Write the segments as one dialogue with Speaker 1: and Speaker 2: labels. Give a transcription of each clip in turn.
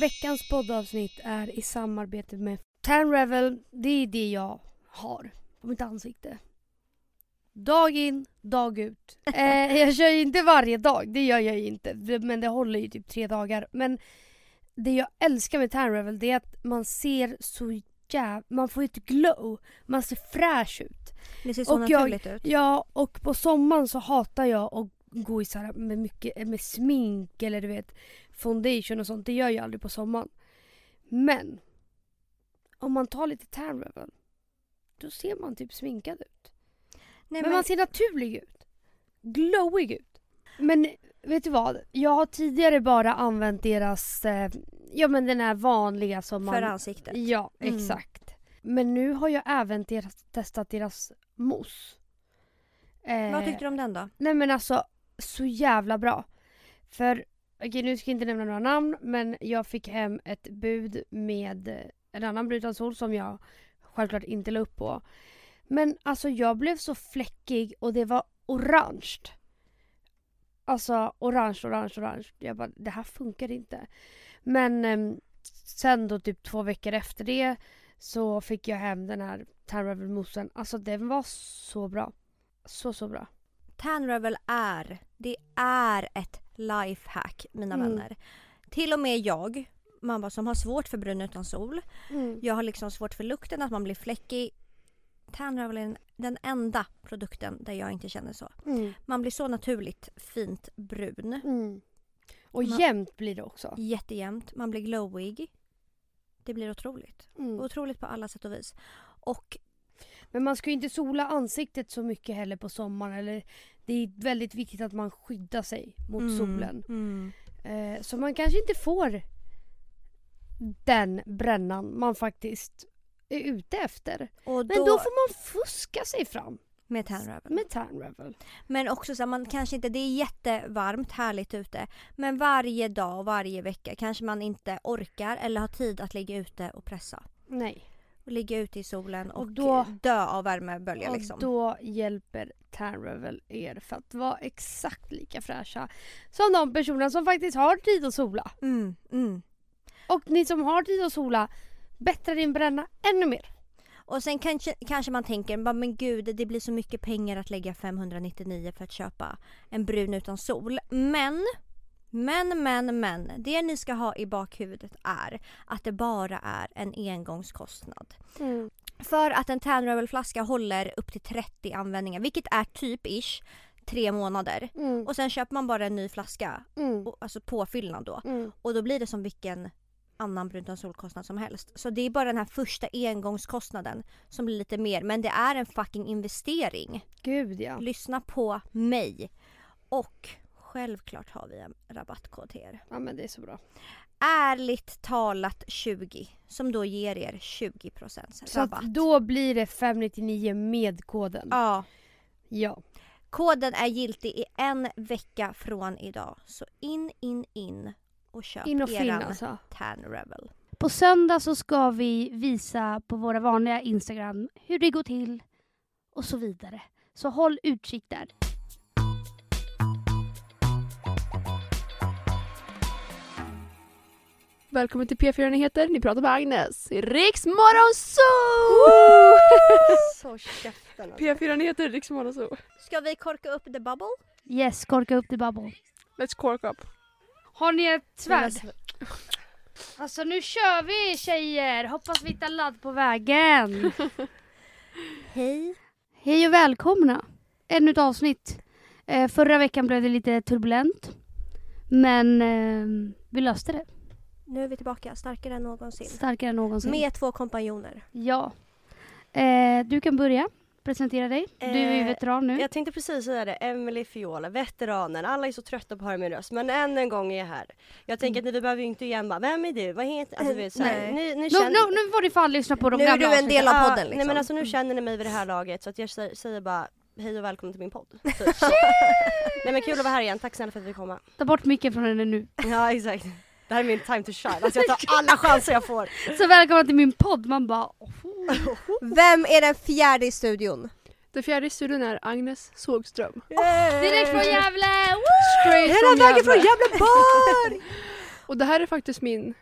Speaker 1: Veckans poddavsnitt är i samarbete med Tanrevel. Det är det jag har på mitt ansikte. Dag in, dag ut. Eh, jag kör ju inte varje dag, det gör jag ju inte. Det- Men det håller ju typ tre dagar. Men det jag älskar med Tanrevel det är att man ser så jävla... Man får ju ett glow. Man ser fräsch ut.
Speaker 2: Det ser
Speaker 1: så
Speaker 2: så
Speaker 1: Och jag-
Speaker 2: naturligt
Speaker 1: naturligt
Speaker 2: ut.
Speaker 1: Ja, och på sommaren så hatar jag att gå i så här med, mycket, eh, med smink eller du vet foundation och sånt. Det gör jag aldrig på sommaren. Men om man tar lite tan revel då ser man typ sminkad ut.
Speaker 2: Nej,
Speaker 1: men, man ser naturlig ut. Glowig ut. Men vet du vad? Jag har tidigare bara använt deras, eh, ja men den här vanliga som man...
Speaker 2: för ansiktet.
Speaker 1: Ja,
Speaker 2: Mm.
Speaker 1: exakt. Men nu har jag även deras, testat deras mousse. Eh,
Speaker 2: Vad tyckte du om den då?
Speaker 1: Nej men alltså, så jävla bra. För, okej nu ska jag inte nämna några namn, men jag fick hem ett bud med eh, en annan brutansol som jag självklart inte la upp på. Men alltså jag blev så fläckig och det var orange. Alltså orange, orange, orange. Jag bara, det här funkar inte. Men ehm, sen då typ två veckor efter det så fick jag hem den här Tanrevel-moussen. Alltså den var så bra. Så, så bra.
Speaker 2: Tanrevel är, det är ett lifehack mina
Speaker 1: Mm.
Speaker 2: vänner. Till och med jag, mamma som har svårt för brun utan sol. Jag har liksom svårt för lukten, att man blir fläckig. Tanrevel är den- den enda produkten där jag inte känner så.
Speaker 1: Mm.
Speaker 2: Man blir så naturligt fint brun.
Speaker 1: Mm. Och
Speaker 2: Man-
Speaker 1: jämnt blir det också.
Speaker 2: Jättejämnt, man blir glowig. Det blir otroligt.
Speaker 1: Mm.
Speaker 2: Otroligt på alla sätt och vis. Och
Speaker 1: Men man ska ju inte sola ansiktet så mycket heller på sommaren. Eller det är väldigt viktigt att man skyddar sig mot solen.
Speaker 2: Mm.
Speaker 1: Eh, så man kanske inte får den brännan man faktiskt är ute efter.
Speaker 2: Och då,
Speaker 1: Men då, får man fuska sig fram
Speaker 2: med tanrevel.
Speaker 1: med tan revel.
Speaker 2: Men också så här, man kanske inte, det är jättevarmt, härligt ute. Men varje dag och varje vecka kanske man inte orkar eller har tid att ligga ute och pressa.
Speaker 1: Nej.
Speaker 2: Och ligga ute i solen och,
Speaker 1: Och då-
Speaker 2: dö av värmebölja
Speaker 1: Och
Speaker 2: liksom.
Speaker 1: då hjälper tan revel er för att vara exakt lika fräscha som de personerna som faktiskt har tid att sola.
Speaker 2: Mm, mm.
Speaker 1: Och ni som har tid att sola, bättra din bränna ännu mer.
Speaker 2: Och sen kanske, kanske man tänker, "Bara, men gud det blir så mycket pengar att lägga 599 för att köpa en brun utan sol. Men, men, men, men. Det ni ska ha i bakhuvudet är att det bara är en engångskostnad.
Speaker 3: Mm.
Speaker 2: För att en tanrövelflaska håller upp till 30 användningar, vilket är typ ish tre månader.
Speaker 1: Mm.
Speaker 2: Och sen köper man bara en ny flaska,
Speaker 1: Mm.
Speaker 2: och- alltså påfyllnad då.
Speaker 1: Mm.
Speaker 2: Och då blir det som vilken annan brun solkostnad som helst. Så det är bara den här första engångskostnaden som blir lite mer. Men det är en fucking investering.
Speaker 1: Gud ja.
Speaker 2: Lyssna på mig. Och självklart har vi en rabattkod till er.
Speaker 1: Ja men det är så bra.
Speaker 2: Ärligt talat 20 som då ger er 20%
Speaker 1: Så
Speaker 2: rabatt.
Speaker 1: att då blir det 599 med koden.
Speaker 2: Ja.
Speaker 1: Ja.
Speaker 2: Koden är giltig i en vecka från idag. Så in, in, in och köp
Speaker 1: In och fin
Speaker 2: eran
Speaker 1: alltså.
Speaker 2: Tan Rebel.
Speaker 3: På söndag så ska vi visa på våra vanliga Instagram hur det går till och så vidare. Så håll utkik där.
Speaker 4: Välkommen till P4 Nyheter, ni pratar med Agnes i Riks Morgonzoo!
Speaker 1: Så käften
Speaker 4: P4 Nyheter, Riks Morgonzoo.
Speaker 2: Ska vi korka upp the bubble?
Speaker 3: Yes, korka upp the bubble.
Speaker 4: Let's cork up.
Speaker 1: Har ni ett svärd?
Speaker 3: Alltså nu kör vi tjejer! Hoppas vi hittar ladd på vägen.
Speaker 2: Hej.
Speaker 3: Hej och välkomna! Ännu ett avsnitt. Eh, förra veckan blev det lite turbulent. Men eh, vi löste det.
Speaker 2: Nu är vi tillbaka, starkare än någonsin.
Speaker 3: Starkare än någonsin.
Speaker 2: Med två kompanjoner.
Speaker 3: Ja. Eh, du kan börja presentera dig. Du är ju
Speaker 5: Eh,
Speaker 3: veteran nu.
Speaker 1: Mm.
Speaker 5: Jag tänkte precis säga det, Emily Fiola, veteranen. Alla är så trötta på att höra min röst, men än en gång är jag här. Jag tänker att ni behöver ju inte igen bara, vem är du, vad heter alltså, du? Vet, så här,
Speaker 2: Nej.
Speaker 5: ni, ni
Speaker 3: Nu,
Speaker 5: känner...
Speaker 3: nu, nu får du fan lyssna på de
Speaker 2: Nu är
Speaker 3: gamla
Speaker 2: du en del av
Speaker 5: Ja,
Speaker 2: podden
Speaker 5: Nej
Speaker 2: liksom.
Speaker 5: men alltså nu känner ni mig vid det här laget så att jag sä- säger bara hej och välkommen till min podd. typ. nej men kul att vara här igen, tack snälla för att vi fick komma.
Speaker 3: Ta bort micken från henne nu.
Speaker 5: Ja exakt. Det här är min time to shine, alltså jag tar alla chanser jag får.
Speaker 3: Så välkomna till min podd. Man bara... "Åh,
Speaker 2: Vem är den fjärde i studion?
Speaker 4: Den fjärde i studion är Agnes Sågström.
Speaker 3: Direkt
Speaker 2: Eh.
Speaker 3: från Gävle! Woo!
Speaker 4: Straight
Speaker 5: Hela vägen från
Speaker 4: Gävle.
Speaker 5: Gävleborg!
Speaker 4: Och det här är faktiskt min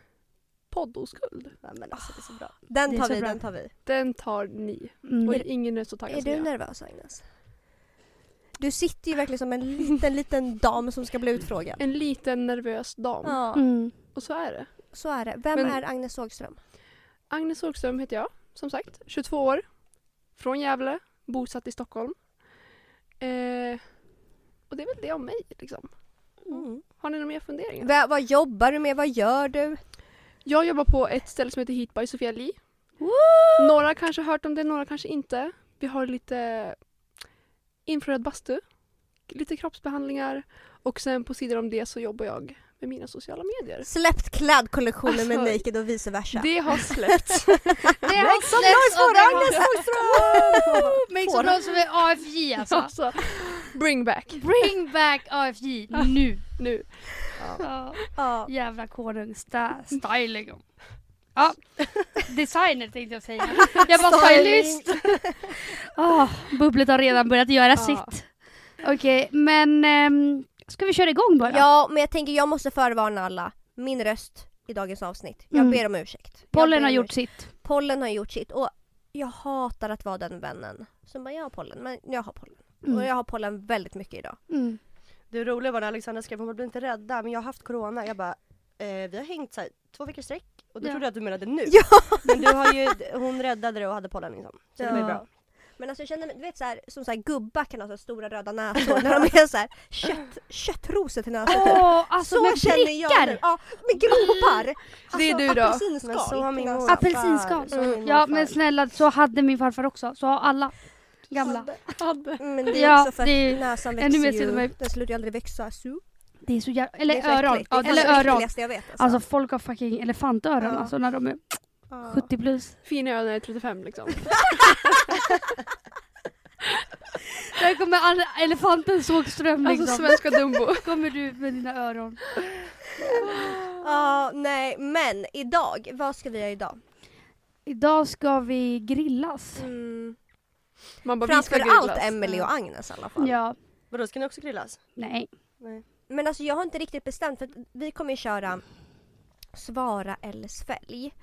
Speaker 4: poddoskuld.
Speaker 5: Nej, Men alltså det är så bra.
Speaker 2: Den
Speaker 6: Det är
Speaker 2: tar
Speaker 6: så
Speaker 2: vi,
Speaker 6: bra.
Speaker 2: den tar vi.
Speaker 4: Den tar ni. Och
Speaker 1: Mm.
Speaker 4: ingen är så taggad
Speaker 2: Är
Speaker 4: som
Speaker 2: du
Speaker 4: jag.
Speaker 2: nervös Agnes? Du sitter ju verkligen som en liten, liten dam som ska bli utfrågad.
Speaker 4: En liten nervös dam.
Speaker 2: Ja,
Speaker 1: Mm.
Speaker 4: Och så är det.
Speaker 2: så är det. Vem
Speaker 4: Men-
Speaker 2: är Agnes Sågström?
Speaker 4: Agnes Hågström heter jag, som sagt. 22 år. Från Gävle. Bosatt i Stockholm. Eh, och det är väl det om mig liksom.
Speaker 2: Mm.
Speaker 4: Har ni några mer funderingar?
Speaker 2: Vä- vad jobbar du med? Vad gör du?
Speaker 4: Jag jobbar på ett ställe som heter Heat by Sofia Li. Några kanske har hört om det, några kanske inte. Vi har lite infraröd bastu, lite kroppsbehandlingar och sen på sidan om det så jobbar jag med mina sociala medier.
Speaker 2: Släppt klädkollektionen med
Speaker 4: Alltså,
Speaker 2: Naked och vice versa.
Speaker 4: Det har släppts.
Speaker 1: Det har släppts och det har... Men så bra som är AFJ alltså.
Speaker 4: alltså, bring back
Speaker 1: Bring back AFJ nu.
Speaker 4: nu.
Speaker 1: Ja.
Speaker 2: Ja.
Speaker 1: Jävla konungsstyling. Ja, designer tänkte jag säga. Jag var
Speaker 2: Styling.
Speaker 1: stylist. Ah, bubblet har redan börjat göra sitt. Okej, men ehm, ska vi köra igång bara?
Speaker 2: ja, men jag tänker jag måste förvarna alla. Min röst i dagens avsnitt. Jag
Speaker 1: Mm.
Speaker 2: ber om ursäkt. Jag
Speaker 1: Pollen
Speaker 2: ber
Speaker 1: har
Speaker 2: om
Speaker 1: gjort
Speaker 2: ursäkt.
Speaker 1: sitt.
Speaker 2: Pollen har gjort sitt och jag hatar att vara den vännen som bara jag har pollen, men jag har pollen. Och
Speaker 1: Mm.
Speaker 2: jag har pollen väldigt mycket idag.
Speaker 1: Mm.
Speaker 5: Det roliga var när Alexandra skrev hon blir inte rädda men jag har haft corona. Jag bara eh, vi har hängt så här, två veckor i sträck och då
Speaker 1: Ja.
Speaker 5: trodde jag att du menade nu.
Speaker 2: Ja.
Speaker 5: Men du har ju, hon räddade det och hade pollen liksom. Så det var ju bra.
Speaker 2: Men alltså jag känner mig, du vet såhär, som såhär gubbar kan ha så här stora röda näsor när de är såhär kött, köttrosor till näsan typ.
Speaker 1: Åh, alltså
Speaker 2: så
Speaker 1: med
Speaker 2: känner jag nu.
Speaker 1: prickar!
Speaker 2: Ja, med gropar! Alltså,
Speaker 4: Det är du då.
Speaker 5: Men så har
Speaker 2: Apelsinskal. Alltså,
Speaker 5: min
Speaker 2: till näsan.
Speaker 5: morfar.
Speaker 1: Apelsinskal.
Speaker 5: Så har min
Speaker 1: Ja
Speaker 5: morfar.
Speaker 1: men snälla, så hade min farfar också. Så har alla gamla.
Speaker 4: Hade.
Speaker 2: Men det är
Speaker 1: Ja,
Speaker 2: också för att
Speaker 1: det är
Speaker 2: näsan
Speaker 1: ännu mer
Speaker 2: växer
Speaker 1: synd om
Speaker 2: ju.
Speaker 1: mig.
Speaker 2: Den slutar ju aldrig växa. Så.
Speaker 1: Det är så jävla...
Speaker 2: Det
Speaker 1: Eller
Speaker 2: är så
Speaker 1: öron.
Speaker 2: äckligt. Det är
Speaker 4: eller
Speaker 2: fan det
Speaker 1: öron.
Speaker 2: äckligaste jag vet. Alltså.
Speaker 1: Alltså folk har fucking elefantöron
Speaker 2: Ja.
Speaker 1: alltså när de är
Speaker 2: Ja.
Speaker 1: 70 plus.
Speaker 4: Fin är jag när jag är 35 liksom.
Speaker 1: Där kommer all- elefanten Sågström liksom.
Speaker 4: Alltså svenska Dumbo.
Speaker 1: kommer du ut med dina öron.
Speaker 2: Ja, nej men idag, vad ska vi göra idag?
Speaker 1: Idag ska vi grillas.
Speaker 5: Mm.
Speaker 4: Man bara, vi ska
Speaker 2: Framförallt
Speaker 4: grillas.
Speaker 2: Emelie och Agnes i alla fall.
Speaker 1: Ja.
Speaker 5: Vadå ska ni också grillas?
Speaker 1: Nej.
Speaker 2: Men alltså jag har inte riktigt bestämt för att vi kommer ju köra svara eller svälj.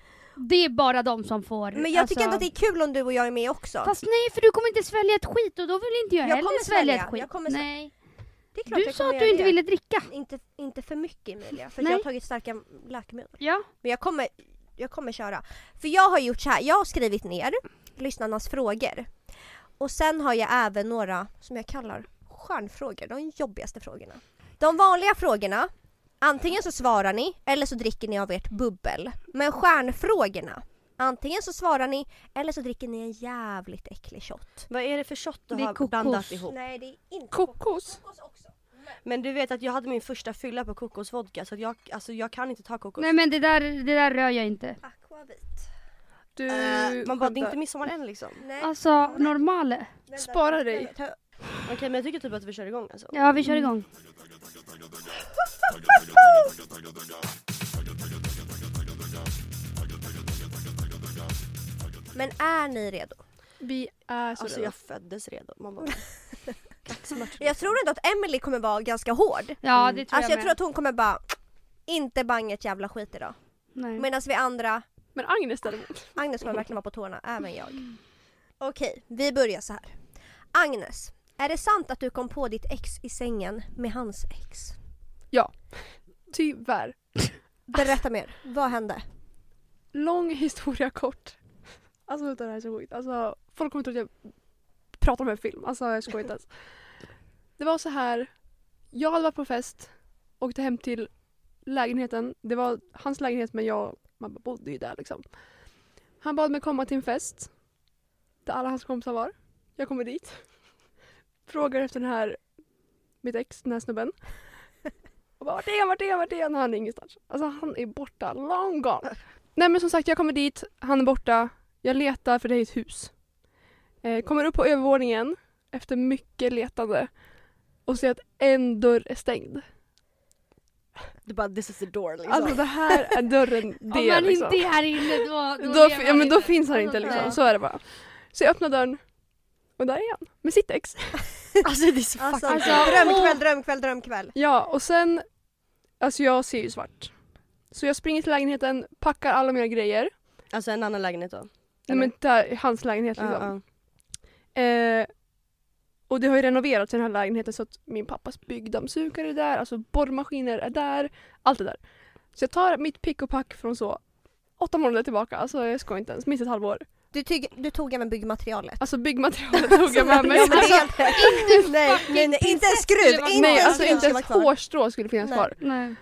Speaker 1: Det är bara de som får.
Speaker 2: Men jag
Speaker 1: alltså-
Speaker 2: tycker ändå att det är kul om du och jag är med också.
Speaker 1: Fast nej för du kommer inte svälja ett skit och då vill inte jag,
Speaker 2: Jag kommer
Speaker 1: heller svälja
Speaker 2: svälja.
Speaker 1: ett skit.
Speaker 2: Jag kommer svä-
Speaker 1: nej.
Speaker 2: det är klart
Speaker 1: Du
Speaker 2: jag
Speaker 1: sa
Speaker 2: kommer
Speaker 1: att du
Speaker 2: göra
Speaker 1: inte
Speaker 2: det.
Speaker 1: ville dricka.
Speaker 2: Inte, inte för mycket Emilia, för
Speaker 1: Nej.
Speaker 2: jag har tagit starka läkemedel.
Speaker 1: Ja.
Speaker 2: Men jag kommer, jag kommer köra. För jag har gjort så här, jag har skrivit ner lyssnarnas frågor. Och sen har jag även några som jag kallar stjärnfrågor, de jobbigaste frågorna. De vanliga frågorna, antingen så svarar ni eller så dricker ni av ert bubbel. Men stjärnfrågorna, antingen så svarar ni eller så dricker ni en jävligt äcklig shot.
Speaker 5: Vad är det för shot du
Speaker 1: Det är
Speaker 5: har
Speaker 1: kokos.
Speaker 5: blandat ihop?
Speaker 2: Nej det är inte
Speaker 4: Kokos.
Speaker 2: kokos också.
Speaker 5: Men du vet att jag hade min första fylla på kokosvodka så att jag, alltså, jag kan inte ta kokos.
Speaker 1: Nej men det där, det där rör jag inte.
Speaker 2: Aquavit.
Speaker 4: Du
Speaker 5: Eh, man bara
Speaker 4: skämtar.
Speaker 5: det är inte midsommar än liksom.
Speaker 2: Nej,
Speaker 1: Alltså normale.
Speaker 2: vänta.
Speaker 4: spara dig.
Speaker 2: Ta-
Speaker 5: Okej men jag tycker typ att vi kör igång alltså.
Speaker 1: Ja vi kör igång.
Speaker 2: Men är ni redo?
Speaker 4: Vi är så
Speaker 5: Alltså
Speaker 4: redo.
Speaker 5: jag föddes redo. Man bara... Kaxmatch.
Speaker 2: Jag tror ändå att Emily kommer vara ganska hård.
Speaker 1: Ja det tror
Speaker 2: Alltså
Speaker 1: jag,
Speaker 2: jag
Speaker 1: med.
Speaker 2: tror att hon kommer bara inte banga ett jävla skit idag.
Speaker 1: Nej.
Speaker 2: Medan vi andra,
Speaker 4: Men Agnes däremot.
Speaker 2: Agnes kommer verkligen vara på tårna, även jag. Okej, vi börjar så här. Agnes, är det sant att du kom på ditt ex i sängen med hans ex?
Speaker 4: Tyvärr.
Speaker 2: Berätta mer, vad hände?
Speaker 4: Lång historia kort. Alltså vänta, det här är så sjukt. Alltså, folk kommer tro att jag pratar om en film. Alltså jag skojar inte ens. Det var så här. Jag hade varit på fest. Åkte hem till lägenheten. Det var hans lägenhet men jag man bara bodde ju där liksom. Han bad mig komma till en fest. Där alla hans kompisar var. Jag kommer dit. Frågar efter den här mitt ex, den här snubben. Och bara, vart är han, vart är han, vart är han? Han är ingenstans. Alltså han är borta, long gone. Nej men som sagt, jag kommer dit, han är borta. Jag letar för det är ett hus. Eh, kommer upp på övervåningen efter mycket letande och ser att en dörr är stängd.
Speaker 5: Du bara this is the door liksom.
Speaker 4: Alltså det här är dörren det
Speaker 1: Om man
Speaker 4: liksom.
Speaker 1: inte är här inne då...
Speaker 4: då,
Speaker 1: då
Speaker 4: fi-
Speaker 1: lever
Speaker 4: ja, men då
Speaker 1: inte.
Speaker 4: finns han
Speaker 1: Alltså,
Speaker 4: inte liksom,
Speaker 2: nej.
Speaker 4: så är det bara. Så jag öppnar dörren och där är han med sitt ex.
Speaker 5: Alltså det är så
Speaker 2: Alltså,
Speaker 5: fucking
Speaker 1: Alltså,
Speaker 2: drömkväll,
Speaker 1: åh.
Speaker 2: drömkväll, drömkväll.
Speaker 4: Ja och sen, alltså jag ser ju svart. Så jag springer till lägenheten, packar alla mina grejer.
Speaker 5: Alltså en annan lägenhet då?
Speaker 4: Nej men där, hans lägenhet liksom.
Speaker 5: Ja, ja.
Speaker 4: Eh, och det har ju renoverats i den här lägenheten så att min pappas byggdammsugare är där, alltså borrmaskiner är där, allt är där. Så jag tar mitt pick och pack från så åtta månader tillbaka, alltså jag skojar inte ens, minst ett halvår.
Speaker 2: Du, tyg, du tog även byggmaterialet.
Speaker 4: Alltså byggmaterialet tog jag med mig.
Speaker 2: Ja, men det är helt rätt.
Speaker 1: Inte
Speaker 5: Nej,
Speaker 1: fucking
Speaker 5: men
Speaker 2: Inte en
Speaker 1: prinsess
Speaker 2: skruv!
Speaker 1: skulle vara
Speaker 2: Inte
Speaker 1: med.
Speaker 4: Nej
Speaker 2: en
Speaker 4: alltså
Speaker 2: skruv
Speaker 4: inte
Speaker 2: ska vara
Speaker 4: ens
Speaker 2: kvar.
Speaker 4: hårstrå skulle finnas
Speaker 2: Nej.
Speaker 4: kvar.
Speaker 1: Nej.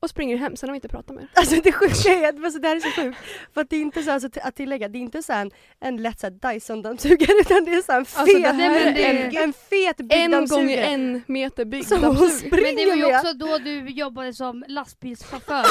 Speaker 4: Och springer hem, sen har vi inte pratat mer.
Speaker 5: Alltså det sjuka är att alltså, det här är så sjukt. För att det är inte så, alltså, t- att tillägga, det är inte så här en, en lätt så här Dyson-dammsugare utan det är så här en fet,
Speaker 4: Alltså, det här
Speaker 1: är-
Speaker 5: en, en fet
Speaker 4: En gång
Speaker 5: byggdammsugare.
Speaker 4: en meter
Speaker 5: som hon
Speaker 4: byggdammsugare.
Speaker 5: springer
Speaker 1: Men det var ju
Speaker 5: med.
Speaker 1: också då du jobbade som lastbilschaufför.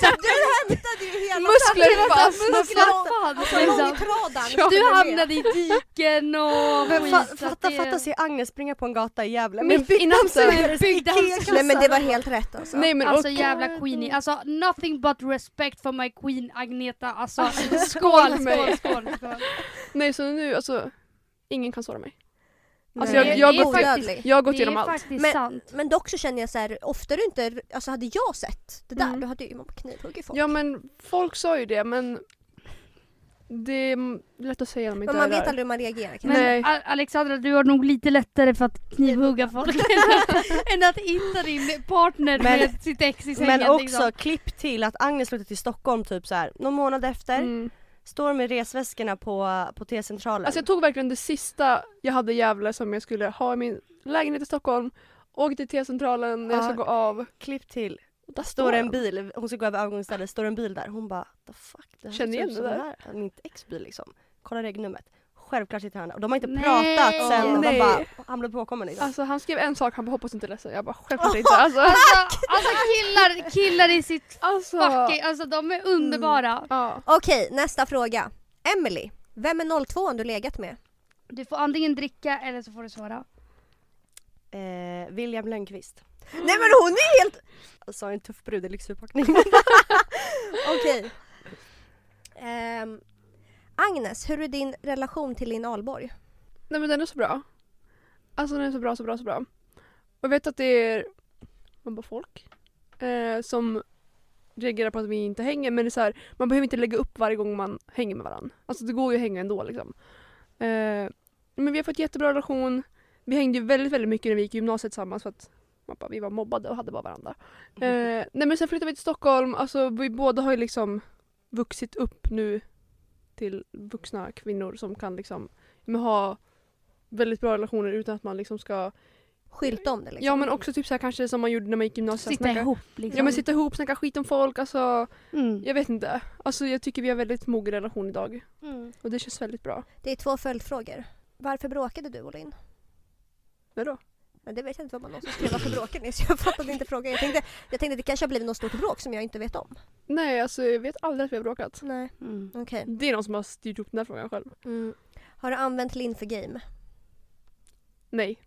Speaker 2: Du hämtade ju hela
Speaker 4: Muskler fast!
Speaker 1: Musklerna
Speaker 2: Alltså,
Speaker 1: fanns liksom.
Speaker 2: långtradaren.
Speaker 1: Du hamnade i diken och
Speaker 5: Men fa-
Speaker 1: skit, så att
Speaker 5: fatta, fatta se Agnes springa på en gata i Gävle med en
Speaker 4: Mitt i natten.
Speaker 5: byggdammsugares Ikea-kassar.
Speaker 2: Nej men det var helt rätt alltså.
Speaker 4: Nej men
Speaker 1: Alltså
Speaker 4: och, Ah,
Speaker 1: jävla queenie, alltså nothing but respect for my queen Agneta, alltså skål, skål,
Speaker 4: mig.
Speaker 1: skål, skål.
Speaker 4: nej så nu alltså, ingen kan såra mig.
Speaker 2: Alltså,
Speaker 4: jag- jag
Speaker 1: går-
Speaker 2: odödlig.
Speaker 4: Jag har gått
Speaker 1: Det
Speaker 4: igenom
Speaker 1: är
Speaker 4: allt.
Speaker 1: faktiskt
Speaker 2: Men-
Speaker 1: sant.
Speaker 2: Men dock så känner jag så här, ofta du inte, alltså hade jag sett det där,
Speaker 4: Mm.
Speaker 2: då hade ju man knivhuggit folk.
Speaker 4: Ja men folk sa ju det men det är m- lätt att säga när man inte
Speaker 2: men man
Speaker 4: är där.
Speaker 2: vet aldrig hur man reagerar kanske.
Speaker 1: Men
Speaker 4: Nej.
Speaker 1: A- Alexandra, du har nog lite lättare för att knivhugga folk än att- än att hitta din partner
Speaker 5: Men-
Speaker 1: med sitt ex i sängen.
Speaker 5: Men också
Speaker 1: liksom.
Speaker 5: klipp till att Agnes flyttar till Stockholm typ så här, någon månad efter.
Speaker 4: Mm.
Speaker 5: Står med resväskorna på, på T-centralen.
Speaker 4: Alltså jag tog verkligen det sista jag hade i Gävle som jag skulle ha i min lägenhet i Stockholm. Åkte till T-centralen när jag
Speaker 5: Ja.
Speaker 4: ska gå av.
Speaker 5: klipp till.
Speaker 4: Där
Speaker 5: Står en
Speaker 4: jag.
Speaker 5: bil, hon ska gå över övergångsstället, står en bil där. Hon bara the fuck. Det här
Speaker 4: Känner
Speaker 5: ser ut
Speaker 4: igen
Speaker 5: som
Speaker 4: det där.
Speaker 5: här- Mitt ex bil liksom. Kolla regnumret. Självklart sitter han där. Och de har inte
Speaker 1: Nej.
Speaker 5: pratat sen. Och de
Speaker 4: Nej.
Speaker 5: bara, han blev påkommen liksom.
Speaker 4: Alltså han skrev en sak, han bara hoppas inte är ledsen. Jag bara självklart inte. Alltså,
Speaker 1: Alltså, alltså killar, killar i sitt
Speaker 4: alltså.
Speaker 1: fucking, alltså de är underbara.
Speaker 4: Ja.
Speaker 2: Okej, nästa fråga. Emily, vem är 02 du legat med?
Speaker 1: Du får antingen dricka eller så får du svara.
Speaker 5: Eh, William Lönnqvist.
Speaker 2: Nej men hon är helt...
Speaker 5: Alltså en tuff brud i lyxförpackning.
Speaker 2: Okej. Ehm, Agnes, hur är din relation till Linn Ahlborg?
Speaker 4: Nej men den är så bra. Alltså den är så bra, så bra, så bra. Och jag vet att det är man bara folk eh, som reagerar på att vi inte hänger men det är så här, man behöver inte lägga upp varje gång man hänger med varandra. Alltså det går ju att hänga ändå liksom. Eh, men vi har fått jättebra relation. Vi hängde ju väldigt, väldigt mycket när vi gick i gymnasiet tillsammans för att man bara, vi var mobbade och hade bara varandra. Eh, nej men sen flyttade vi till Stockholm, alltså vi båda har ju liksom vuxit upp nu till vuxna kvinnor som kan liksom men, ha väldigt bra relationer utan att man liksom ska
Speaker 2: Skylta om det liksom.
Speaker 4: Ja men också typ så här kanske som man gjorde när man gick gymnasiet.
Speaker 1: Sitta
Speaker 4: Snacka-
Speaker 1: ihop liksom.
Speaker 4: Ja men sitta ihop, snacka skit om folk. Alltså,
Speaker 1: mm.
Speaker 4: jag vet inte. Alltså, jag tycker vi har väldigt mogen relation idag.
Speaker 1: Mm.
Speaker 4: Och det känns väldigt bra.
Speaker 2: Det är två följdfrågor. Varför bråkade du och Linn?
Speaker 4: Vadå?
Speaker 2: Men det vet jag inte vad man någonsin skrev varför bråkade ni? Så jag fattade inte frågan. Jag tänkte, jag tänkte att det kanske har blivit något stort bråk som jag inte vet om.
Speaker 4: Nej alltså jag vet aldrig att vi har bråkat.
Speaker 2: Nej.
Speaker 1: Mm.
Speaker 2: Okej. Mm.
Speaker 4: Det är någon som har styrt upp den här frågan själv.
Speaker 2: Har du använt Linn för game?
Speaker 4: Nej.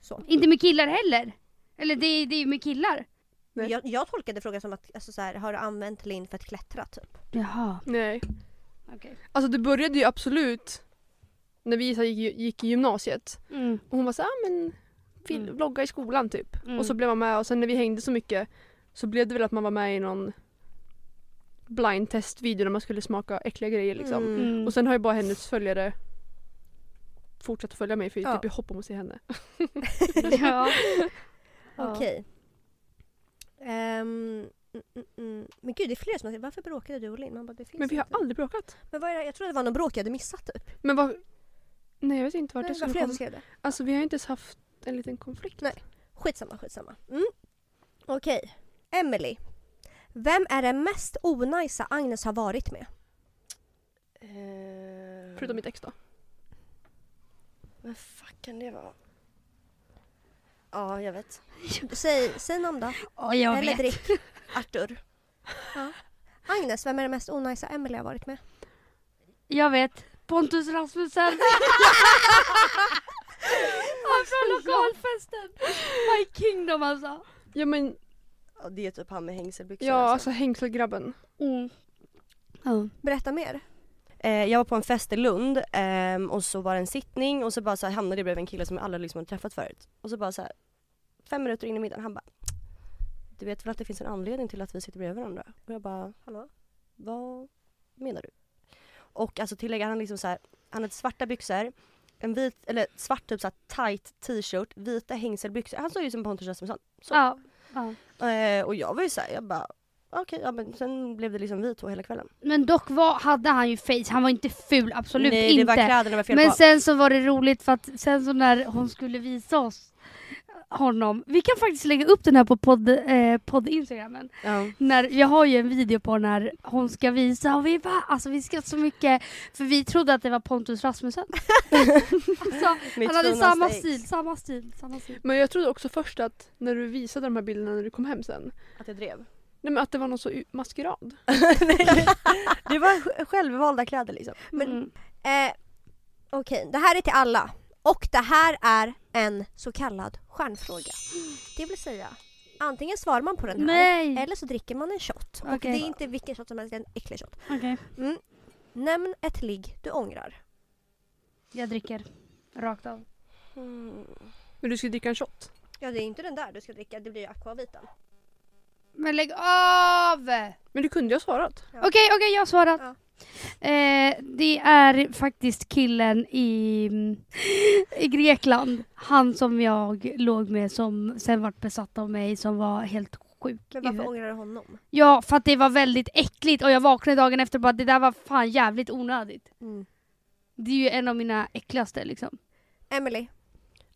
Speaker 2: Så.
Speaker 1: Inte med killar heller. Eller det, är- det är ju med killar.
Speaker 4: Nej.
Speaker 2: Jag, jag tolkade frågan som att, alltså så här, har du använt Linn för att klättra typ?
Speaker 1: Jaha.
Speaker 4: Nej.
Speaker 1: Okej.
Speaker 4: Alltså det började ju absolut när vi så här, gick, gick i gymnasiet.
Speaker 1: Mm.
Speaker 4: Och hon var såhär, ah, men fil-
Speaker 1: Mm.
Speaker 4: vlogga i skolan typ.
Speaker 1: Mm.
Speaker 4: Och så blev man med och sen när vi hängde så mycket så blev det väl att man var med i någon blind test video när man skulle smaka äckliga grejer liksom.
Speaker 2: Mm.
Speaker 1: Mm.
Speaker 4: Och sen har ju bara hennes följare fortsatt att följa mig för
Speaker 2: Ja.
Speaker 4: typ jag hopp om att se henne.
Speaker 1: ja. Ja.
Speaker 2: Okej. Ehm, mm, mm, mm. Men gud det är flera som har sagt varför bråkade du och Linn? Man bara, det finns
Speaker 4: Men vi har
Speaker 2: inte.
Speaker 4: aldrig bråkat.
Speaker 2: Men vad är det? Jag trodde det var någon bråk jag hade missat typ.
Speaker 4: Men vad... Nej jag vet inte vart
Speaker 2: Nej,
Speaker 4: det
Speaker 2: det var
Speaker 4: skulle
Speaker 2: flera som
Speaker 4: komma.
Speaker 2: skrev det.
Speaker 4: Alltså vi har ju inte ens haft en liten konflikt.
Speaker 2: Nej. Skitsamma, skitsamma. Mm. Okej. Emily. Vem är den mest onajsa Agnes har varit med?
Speaker 5: Eh,
Speaker 4: Förutom mitt ex då.
Speaker 5: Vad fuck kan det vara? Ja, jag vet.
Speaker 2: Säg, säg namn då.
Speaker 1: Ja, jag
Speaker 2: Eller
Speaker 1: vet.
Speaker 2: drick.
Speaker 5: Arthur.
Speaker 2: Agnes, vem är den mest onajsa Emily har varit med?
Speaker 1: Jag vet. Pontus Rasmussen. Han från lokalfesten. My kingdom alltså.
Speaker 4: Ja men
Speaker 5: Ja, det är typ han med hängselbyxor.
Speaker 4: ja alltså hängselgrabben.
Speaker 1: Mm. Ja.
Speaker 2: Berätta mer.
Speaker 5: Eh, jag var på en fest i Lund ehm, och så var det en sittning och så bara så här, hamnade jag bredvid en kille som jag aldrig liksom hade träffat förut. Och så bara så här, fem minuter in i middagen, han bara du vet väl att det finns en anledning till att vi sitter bredvid varandra? Och jag bara, hallå? Vad menar du? Och alltså tillägger han liksom så här, han hade svarta byxor, en vit, eller svart typ så här tight t-shirt, vita hängselbyxor. Han såg ju ut som Pontus Rasmusson. Så.
Speaker 1: Ja. ja.
Speaker 5: Eh, och jag var ju såhär, jag bara okej, ja, men sen blev det liksom vi två hela kvällen.
Speaker 1: Men dock var, hade han ju face, han var inte ful, absolut
Speaker 5: Nej,
Speaker 1: inte.
Speaker 5: det var kläderna det var fel
Speaker 1: Men
Speaker 5: på.
Speaker 1: sen så var det roligt för att sen så när hon skulle visa oss honom. Vi kan faktiskt lägga upp den här på podd, eh, podd-instagrammen.
Speaker 5: Ja.
Speaker 1: När, jag har ju en video på när hon ska visa och vi bara, alltså vi skrattar så mycket för vi trodde att det var Pontus Rasmussen. alltså,
Speaker 5: Mitt
Speaker 1: han hade
Speaker 5: finaste
Speaker 1: samma
Speaker 5: ex.
Speaker 1: stil, samma stil, samma stil.
Speaker 4: Men jag trodde också först att när du visade de här bilderna när du kom hem sen,
Speaker 5: Att jag drev.
Speaker 4: nej men att det var någon så u- maskerad.
Speaker 5: det var sj- självvalda kläder liksom.
Speaker 2: Men-
Speaker 1: Mm.
Speaker 2: Eh, Okej, det här är till alla. Och det här är en så kallad stjärnfråga. Det vill säga, antingen svarar man på den här
Speaker 1: Nej!
Speaker 2: eller så dricker man en shot. Och
Speaker 1: Okej.
Speaker 2: det är inte vilken shot som helst, det är en äcklig shot.
Speaker 1: Okej,
Speaker 2: Nämn ett ligg du ångrar.
Speaker 1: jag dricker. Rakt av. Hmm.
Speaker 4: Men du skulle dricka en shot.
Speaker 2: Ja, det är inte den där du ska dricka, det blir ju akvaviten.
Speaker 1: Men lägg av!
Speaker 4: Men du kunde ju ha svarat.
Speaker 2: Ja.
Speaker 1: Okej, okej, jag har svarat.
Speaker 2: Ja.
Speaker 1: Eh, det är faktiskt killen i, i Grekland. Han som jag låg med som sen vart besatt av mig som var helt sjuk. i
Speaker 2: Men varför
Speaker 1: huvudet.
Speaker 2: ångrar du honom?
Speaker 1: Ja, för att det var väldigt äckligt och jag vaknade dagen efter och bara det där var fan jävligt onödigt. Det är ju en av mina äckligaste liksom.
Speaker 2: Emily,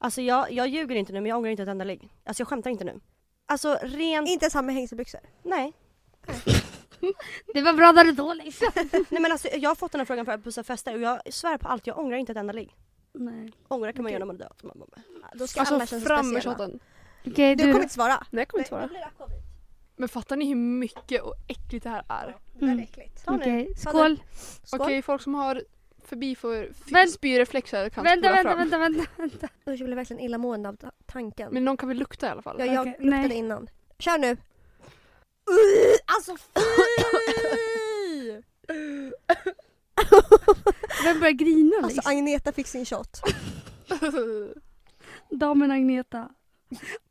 Speaker 5: Alltså jag, jag ljuger inte nu men jag ångrar inte ett enda ligg. Alltså jag skämtar inte nu. Alltså rent,
Speaker 2: inte ens han med hängselbyxor.
Speaker 5: nej.
Speaker 1: Det var bra där och då liksom.
Speaker 5: Nej men alltså jag har fått den här frågan för att bussa fester och jag svär på allt, jag ångrar inte ett enda ligg.
Speaker 1: Nej.
Speaker 5: Ångra kan man göra när man är död. Man bara,
Speaker 2: Då ska alla känna
Speaker 4: Alltså
Speaker 2: sig
Speaker 4: fram med
Speaker 2: speciella.
Speaker 4: shoten.
Speaker 1: Okej,
Speaker 2: Du kommer
Speaker 1: du
Speaker 2: inte svara.
Speaker 4: Nej jag kommer inte svara.
Speaker 2: blir akvavit.
Speaker 4: Men fattar ni hur mycket och äckligt det här är?
Speaker 2: Det där
Speaker 1: Mm.
Speaker 2: är äckligt.
Speaker 5: Ta nu.
Speaker 1: Okej, skål.
Speaker 4: Okej,
Speaker 2: Skål.
Speaker 4: folk som har förbi för
Speaker 1: Men-
Speaker 4: f- spyreflexer kan
Speaker 1: Vänta,
Speaker 4: spola
Speaker 1: vänta,
Speaker 4: fram.
Speaker 1: vänta, vänta, vänta.
Speaker 2: Usch, jag blev verkligen illamående av ta- tanken.
Speaker 4: Men någon kan väl lukta i alla fall?
Speaker 2: Ja, jag
Speaker 1: Okej,
Speaker 2: luktade
Speaker 1: nej.
Speaker 2: innan. Kör nu!
Speaker 5: Alltså fy!
Speaker 1: Vem börjar grina liksom?
Speaker 2: Alltså Agneta fick sin shot.
Speaker 1: damen Agneta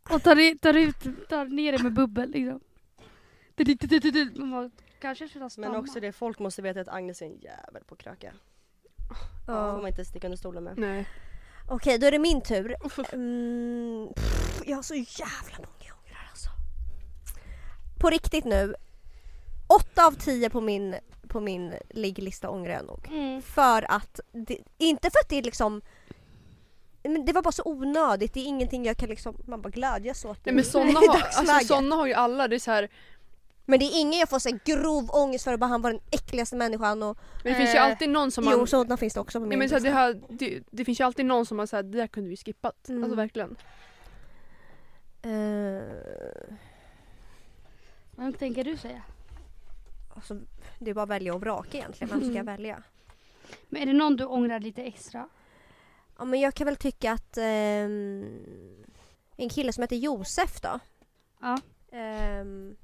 Speaker 1: och tar, i- tar, ut, tar ner det med bubbel liksom. Du, du, du, du, du, du. Man bara, kanske skulle ha
Speaker 5: men
Speaker 1: stammat.
Speaker 5: också det, folk måste veta att Agnes är en jävel på att kröka. Det får man
Speaker 2: Ja.
Speaker 5: inte sticka under stolen med.
Speaker 4: Nej.
Speaker 2: Okej, då är det min tur. Mm, pff, jag har så jävla många ångrar alltså. På riktigt nu. Åtta av tio på min, på min ligglista ångrar jag nog.
Speaker 1: Mm.
Speaker 2: För att, det, inte för att det är liksom men det var bara så onödigt, det är ingenting jag kan liksom, man bara glädjas åt.
Speaker 4: Nej
Speaker 2: nu.
Speaker 4: men sådana
Speaker 2: I
Speaker 4: har, alltså,
Speaker 2: dagsläget.
Speaker 4: såna har ju alla. Det, är så här,
Speaker 2: Men det är ingen jag får så här grov ångest för, bara han var den äckligaste människan och
Speaker 4: men det finns ju
Speaker 1: Eh,
Speaker 4: alltid någon som man...
Speaker 2: jo sådana finns det också på
Speaker 4: nej,
Speaker 2: min
Speaker 4: men så här, det,
Speaker 2: lista.
Speaker 4: här, det, det finns ju alltid någon som man säger det där kunde vi skippat.
Speaker 2: Mm.
Speaker 4: Alltså verkligen.
Speaker 2: Eh,
Speaker 1: Vem tänker du säga?
Speaker 2: alltså, det är bara att välja och vraka egentligen, vem ska jag välja?
Speaker 1: Men är det någon du ångrar lite extra?
Speaker 2: Ja men jag kan väl tycka att ehm, en kille som heter Josef då.
Speaker 1: Ja.
Speaker 2: ehm,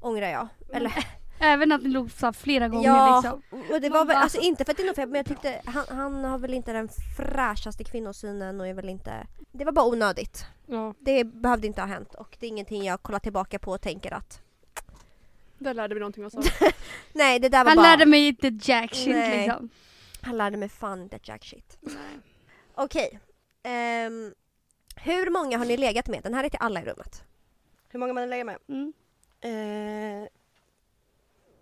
Speaker 2: ångrar jag. Eller,
Speaker 1: Även att ni låg så här flera gånger
Speaker 2: Ja.
Speaker 1: liksom.
Speaker 2: och det var
Speaker 1: Man
Speaker 2: väl,
Speaker 1: bara-
Speaker 2: alltså inte för att det är något fel men jag tyckte han, han har väl inte den fräschaste kvinnosynen och är väl inte... Det var bara onödigt.
Speaker 4: Ja,
Speaker 2: Det behövde inte ha hänt och det är ingenting jag kollar tillbaka på och tänker att
Speaker 4: där lärde vi någonting också.
Speaker 2: nej det där var
Speaker 1: Han
Speaker 2: bara...
Speaker 1: lärde mig inte jack shit
Speaker 2: Nej.
Speaker 1: liksom.
Speaker 2: han lärde mig fan inte jack shit. Okej. ehm, hur många har ni legat med? Den här är till alla i rummet.
Speaker 5: Hur många man lägger med?
Speaker 1: Mm.
Speaker 5: Eh,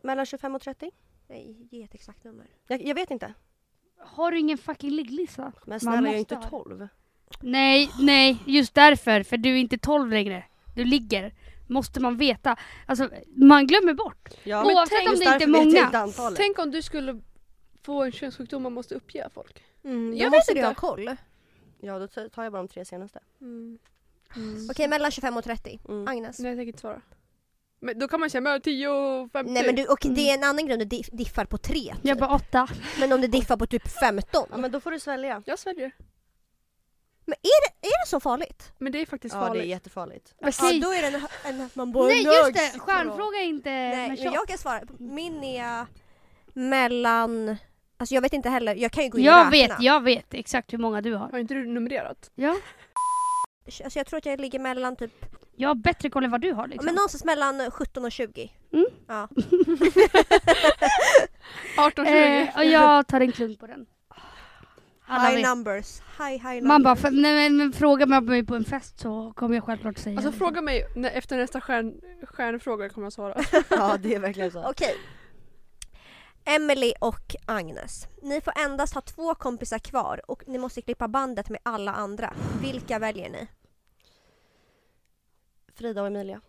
Speaker 5: mellan 25 och 30?
Speaker 2: Nej, ge ett exakt nummer.
Speaker 5: Jag, jag vet inte.
Speaker 1: Har du ingen fucking ligglista?
Speaker 5: Men snälla jag är
Speaker 1: måste
Speaker 5: inte
Speaker 1: ha det.
Speaker 5: 12.
Speaker 1: Nej, nej, just därför. För du är inte 12 längre. Du ligger. Måste man veta. Alltså, man glömmer bort.
Speaker 5: Ja,
Speaker 1: Oavsett
Speaker 5: tänk-
Speaker 1: om
Speaker 5: just
Speaker 1: det inte är
Speaker 5: därför vet jag
Speaker 1: många.
Speaker 5: inte antalet.
Speaker 4: Tänk om du skulle få en könssjukdom man måste uppge folk.
Speaker 2: Mm,
Speaker 4: Jag
Speaker 2: jag
Speaker 4: vet
Speaker 2: måste du
Speaker 4: inte.
Speaker 2: ha koll.
Speaker 5: Ja då tar tar jag bara de tre senaste.
Speaker 4: Mm.
Speaker 2: Okej, mellan 25 och 30.
Speaker 5: Mm.
Speaker 2: Agnes?
Speaker 4: Nej jag tänker inte svara. Men då kan man säga mellan 10 och 50.
Speaker 2: Nej men du, okej, det är en annan grund att diff- diffar på 3.
Speaker 1: mm. Jag bara åtta.
Speaker 2: Men om det diffar på typ 15.
Speaker 5: Ja men då får du svälja.
Speaker 4: Jag sväljer.
Speaker 2: Är det så farligt?
Speaker 4: Men det är faktiskt
Speaker 5: Ja det är
Speaker 4: farligt.
Speaker 5: jättefarligt.
Speaker 4: Alltså-
Speaker 1: Okej.
Speaker 2: Ja, då är det en, en att man bara
Speaker 1: nej just
Speaker 2: nögs.
Speaker 1: det, stjärnfråga är inte
Speaker 2: Nej,
Speaker 1: med
Speaker 2: men
Speaker 1: shot.
Speaker 2: jag kan svara. Min är mellan... Alltså jag vet inte heller, jag kan ju gå in
Speaker 1: Jag
Speaker 2: och räkna.
Speaker 1: vet, jag vet exakt hur många du har.
Speaker 4: Har inte du numrerat?
Speaker 1: Ja.
Speaker 2: Alltså jag tror att jag ligger mellan typ
Speaker 1: Jag har bättre koll än vad du har liksom.
Speaker 2: Men någonstans mellan 17 och 20.
Speaker 1: Mm.
Speaker 2: Ja.
Speaker 4: 18
Speaker 1: eh, och jag tar en klunk på den. Alla
Speaker 2: high
Speaker 1: vet.
Speaker 2: numbers. High, high numbers.
Speaker 1: Man bara, för, nej, men, men fråga mig om mig på en fest så kommer jag självklart säga
Speaker 4: Alltså
Speaker 1: det.
Speaker 4: fråga mig när, efter nästa stjärn, stjärnfråga kommer jag svara.
Speaker 5: Ja det är verkligen så.
Speaker 2: Okej. Emily och Agnes. Ni får endast ha två kompisar kvar och ni måste klippa bandet med alla andra. Vilka väljer ni?
Speaker 5: Frida och Emilia.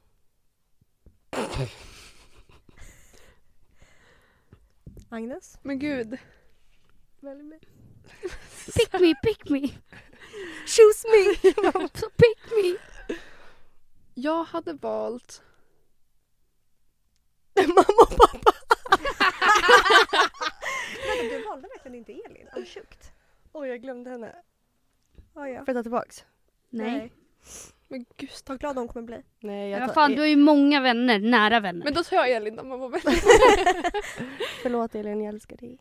Speaker 2: Agnes?
Speaker 4: Men gud.
Speaker 1: Pick me, pick me!
Speaker 2: Choose me!
Speaker 1: Så pick me!
Speaker 4: Jag hade valt...
Speaker 5: Mamma och pappa.
Speaker 2: du valde verkligen inte Elin. Vad sjukt.
Speaker 5: Oj jag glömde henne.
Speaker 2: Oh, ja.
Speaker 5: Får jag ta tillbaks?
Speaker 1: Nej.
Speaker 4: Men gud
Speaker 2: Vad glad hon kommer bli.
Speaker 5: Nej
Speaker 1: Men
Speaker 5: jag
Speaker 1: vad
Speaker 5: tar... e-
Speaker 1: fan, du har ju många vänner, nära vänner.
Speaker 4: Men då tar jag Elin om man var med.
Speaker 5: Förlåt Elin jag älskar dig.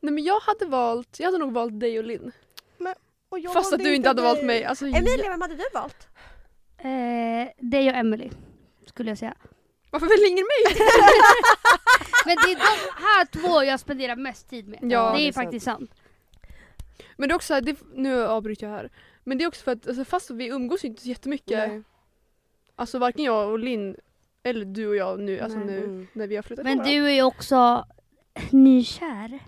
Speaker 4: Nej men jag hade valt, jag hade nog valt dig och Linn.
Speaker 5: Och jag
Speaker 4: Fast att
Speaker 5: valde
Speaker 4: du inte hade valt
Speaker 5: dig.
Speaker 4: mig. Alltså,
Speaker 2: Emilia, vem hade du valt?
Speaker 1: Eh, dig och Emily skulle jag säga.
Speaker 4: Varför väljer ingen mig?
Speaker 1: Men det är de här två jag spenderar mest tid med.
Speaker 4: Ja,
Speaker 1: det
Speaker 5: det
Speaker 1: är
Speaker 5: är
Speaker 1: faktiskt sant.
Speaker 4: Men det är också så här, det, nu avbryter jag här. Men det är också för att alltså, fast vi umgås ju inte så jättemycket.
Speaker 5: Nej.
Speaker 4: Alltså varken jag och Linn eller du och jag nu, alltså
Speaker 1: Nej.
Speaker 4: nu
Speaker 5: Mm.
Speaker 4: när vi har flyttat
Speaker 1: Men
Speaker 4: på varandra.
Speaker 1: du är ju också nykär.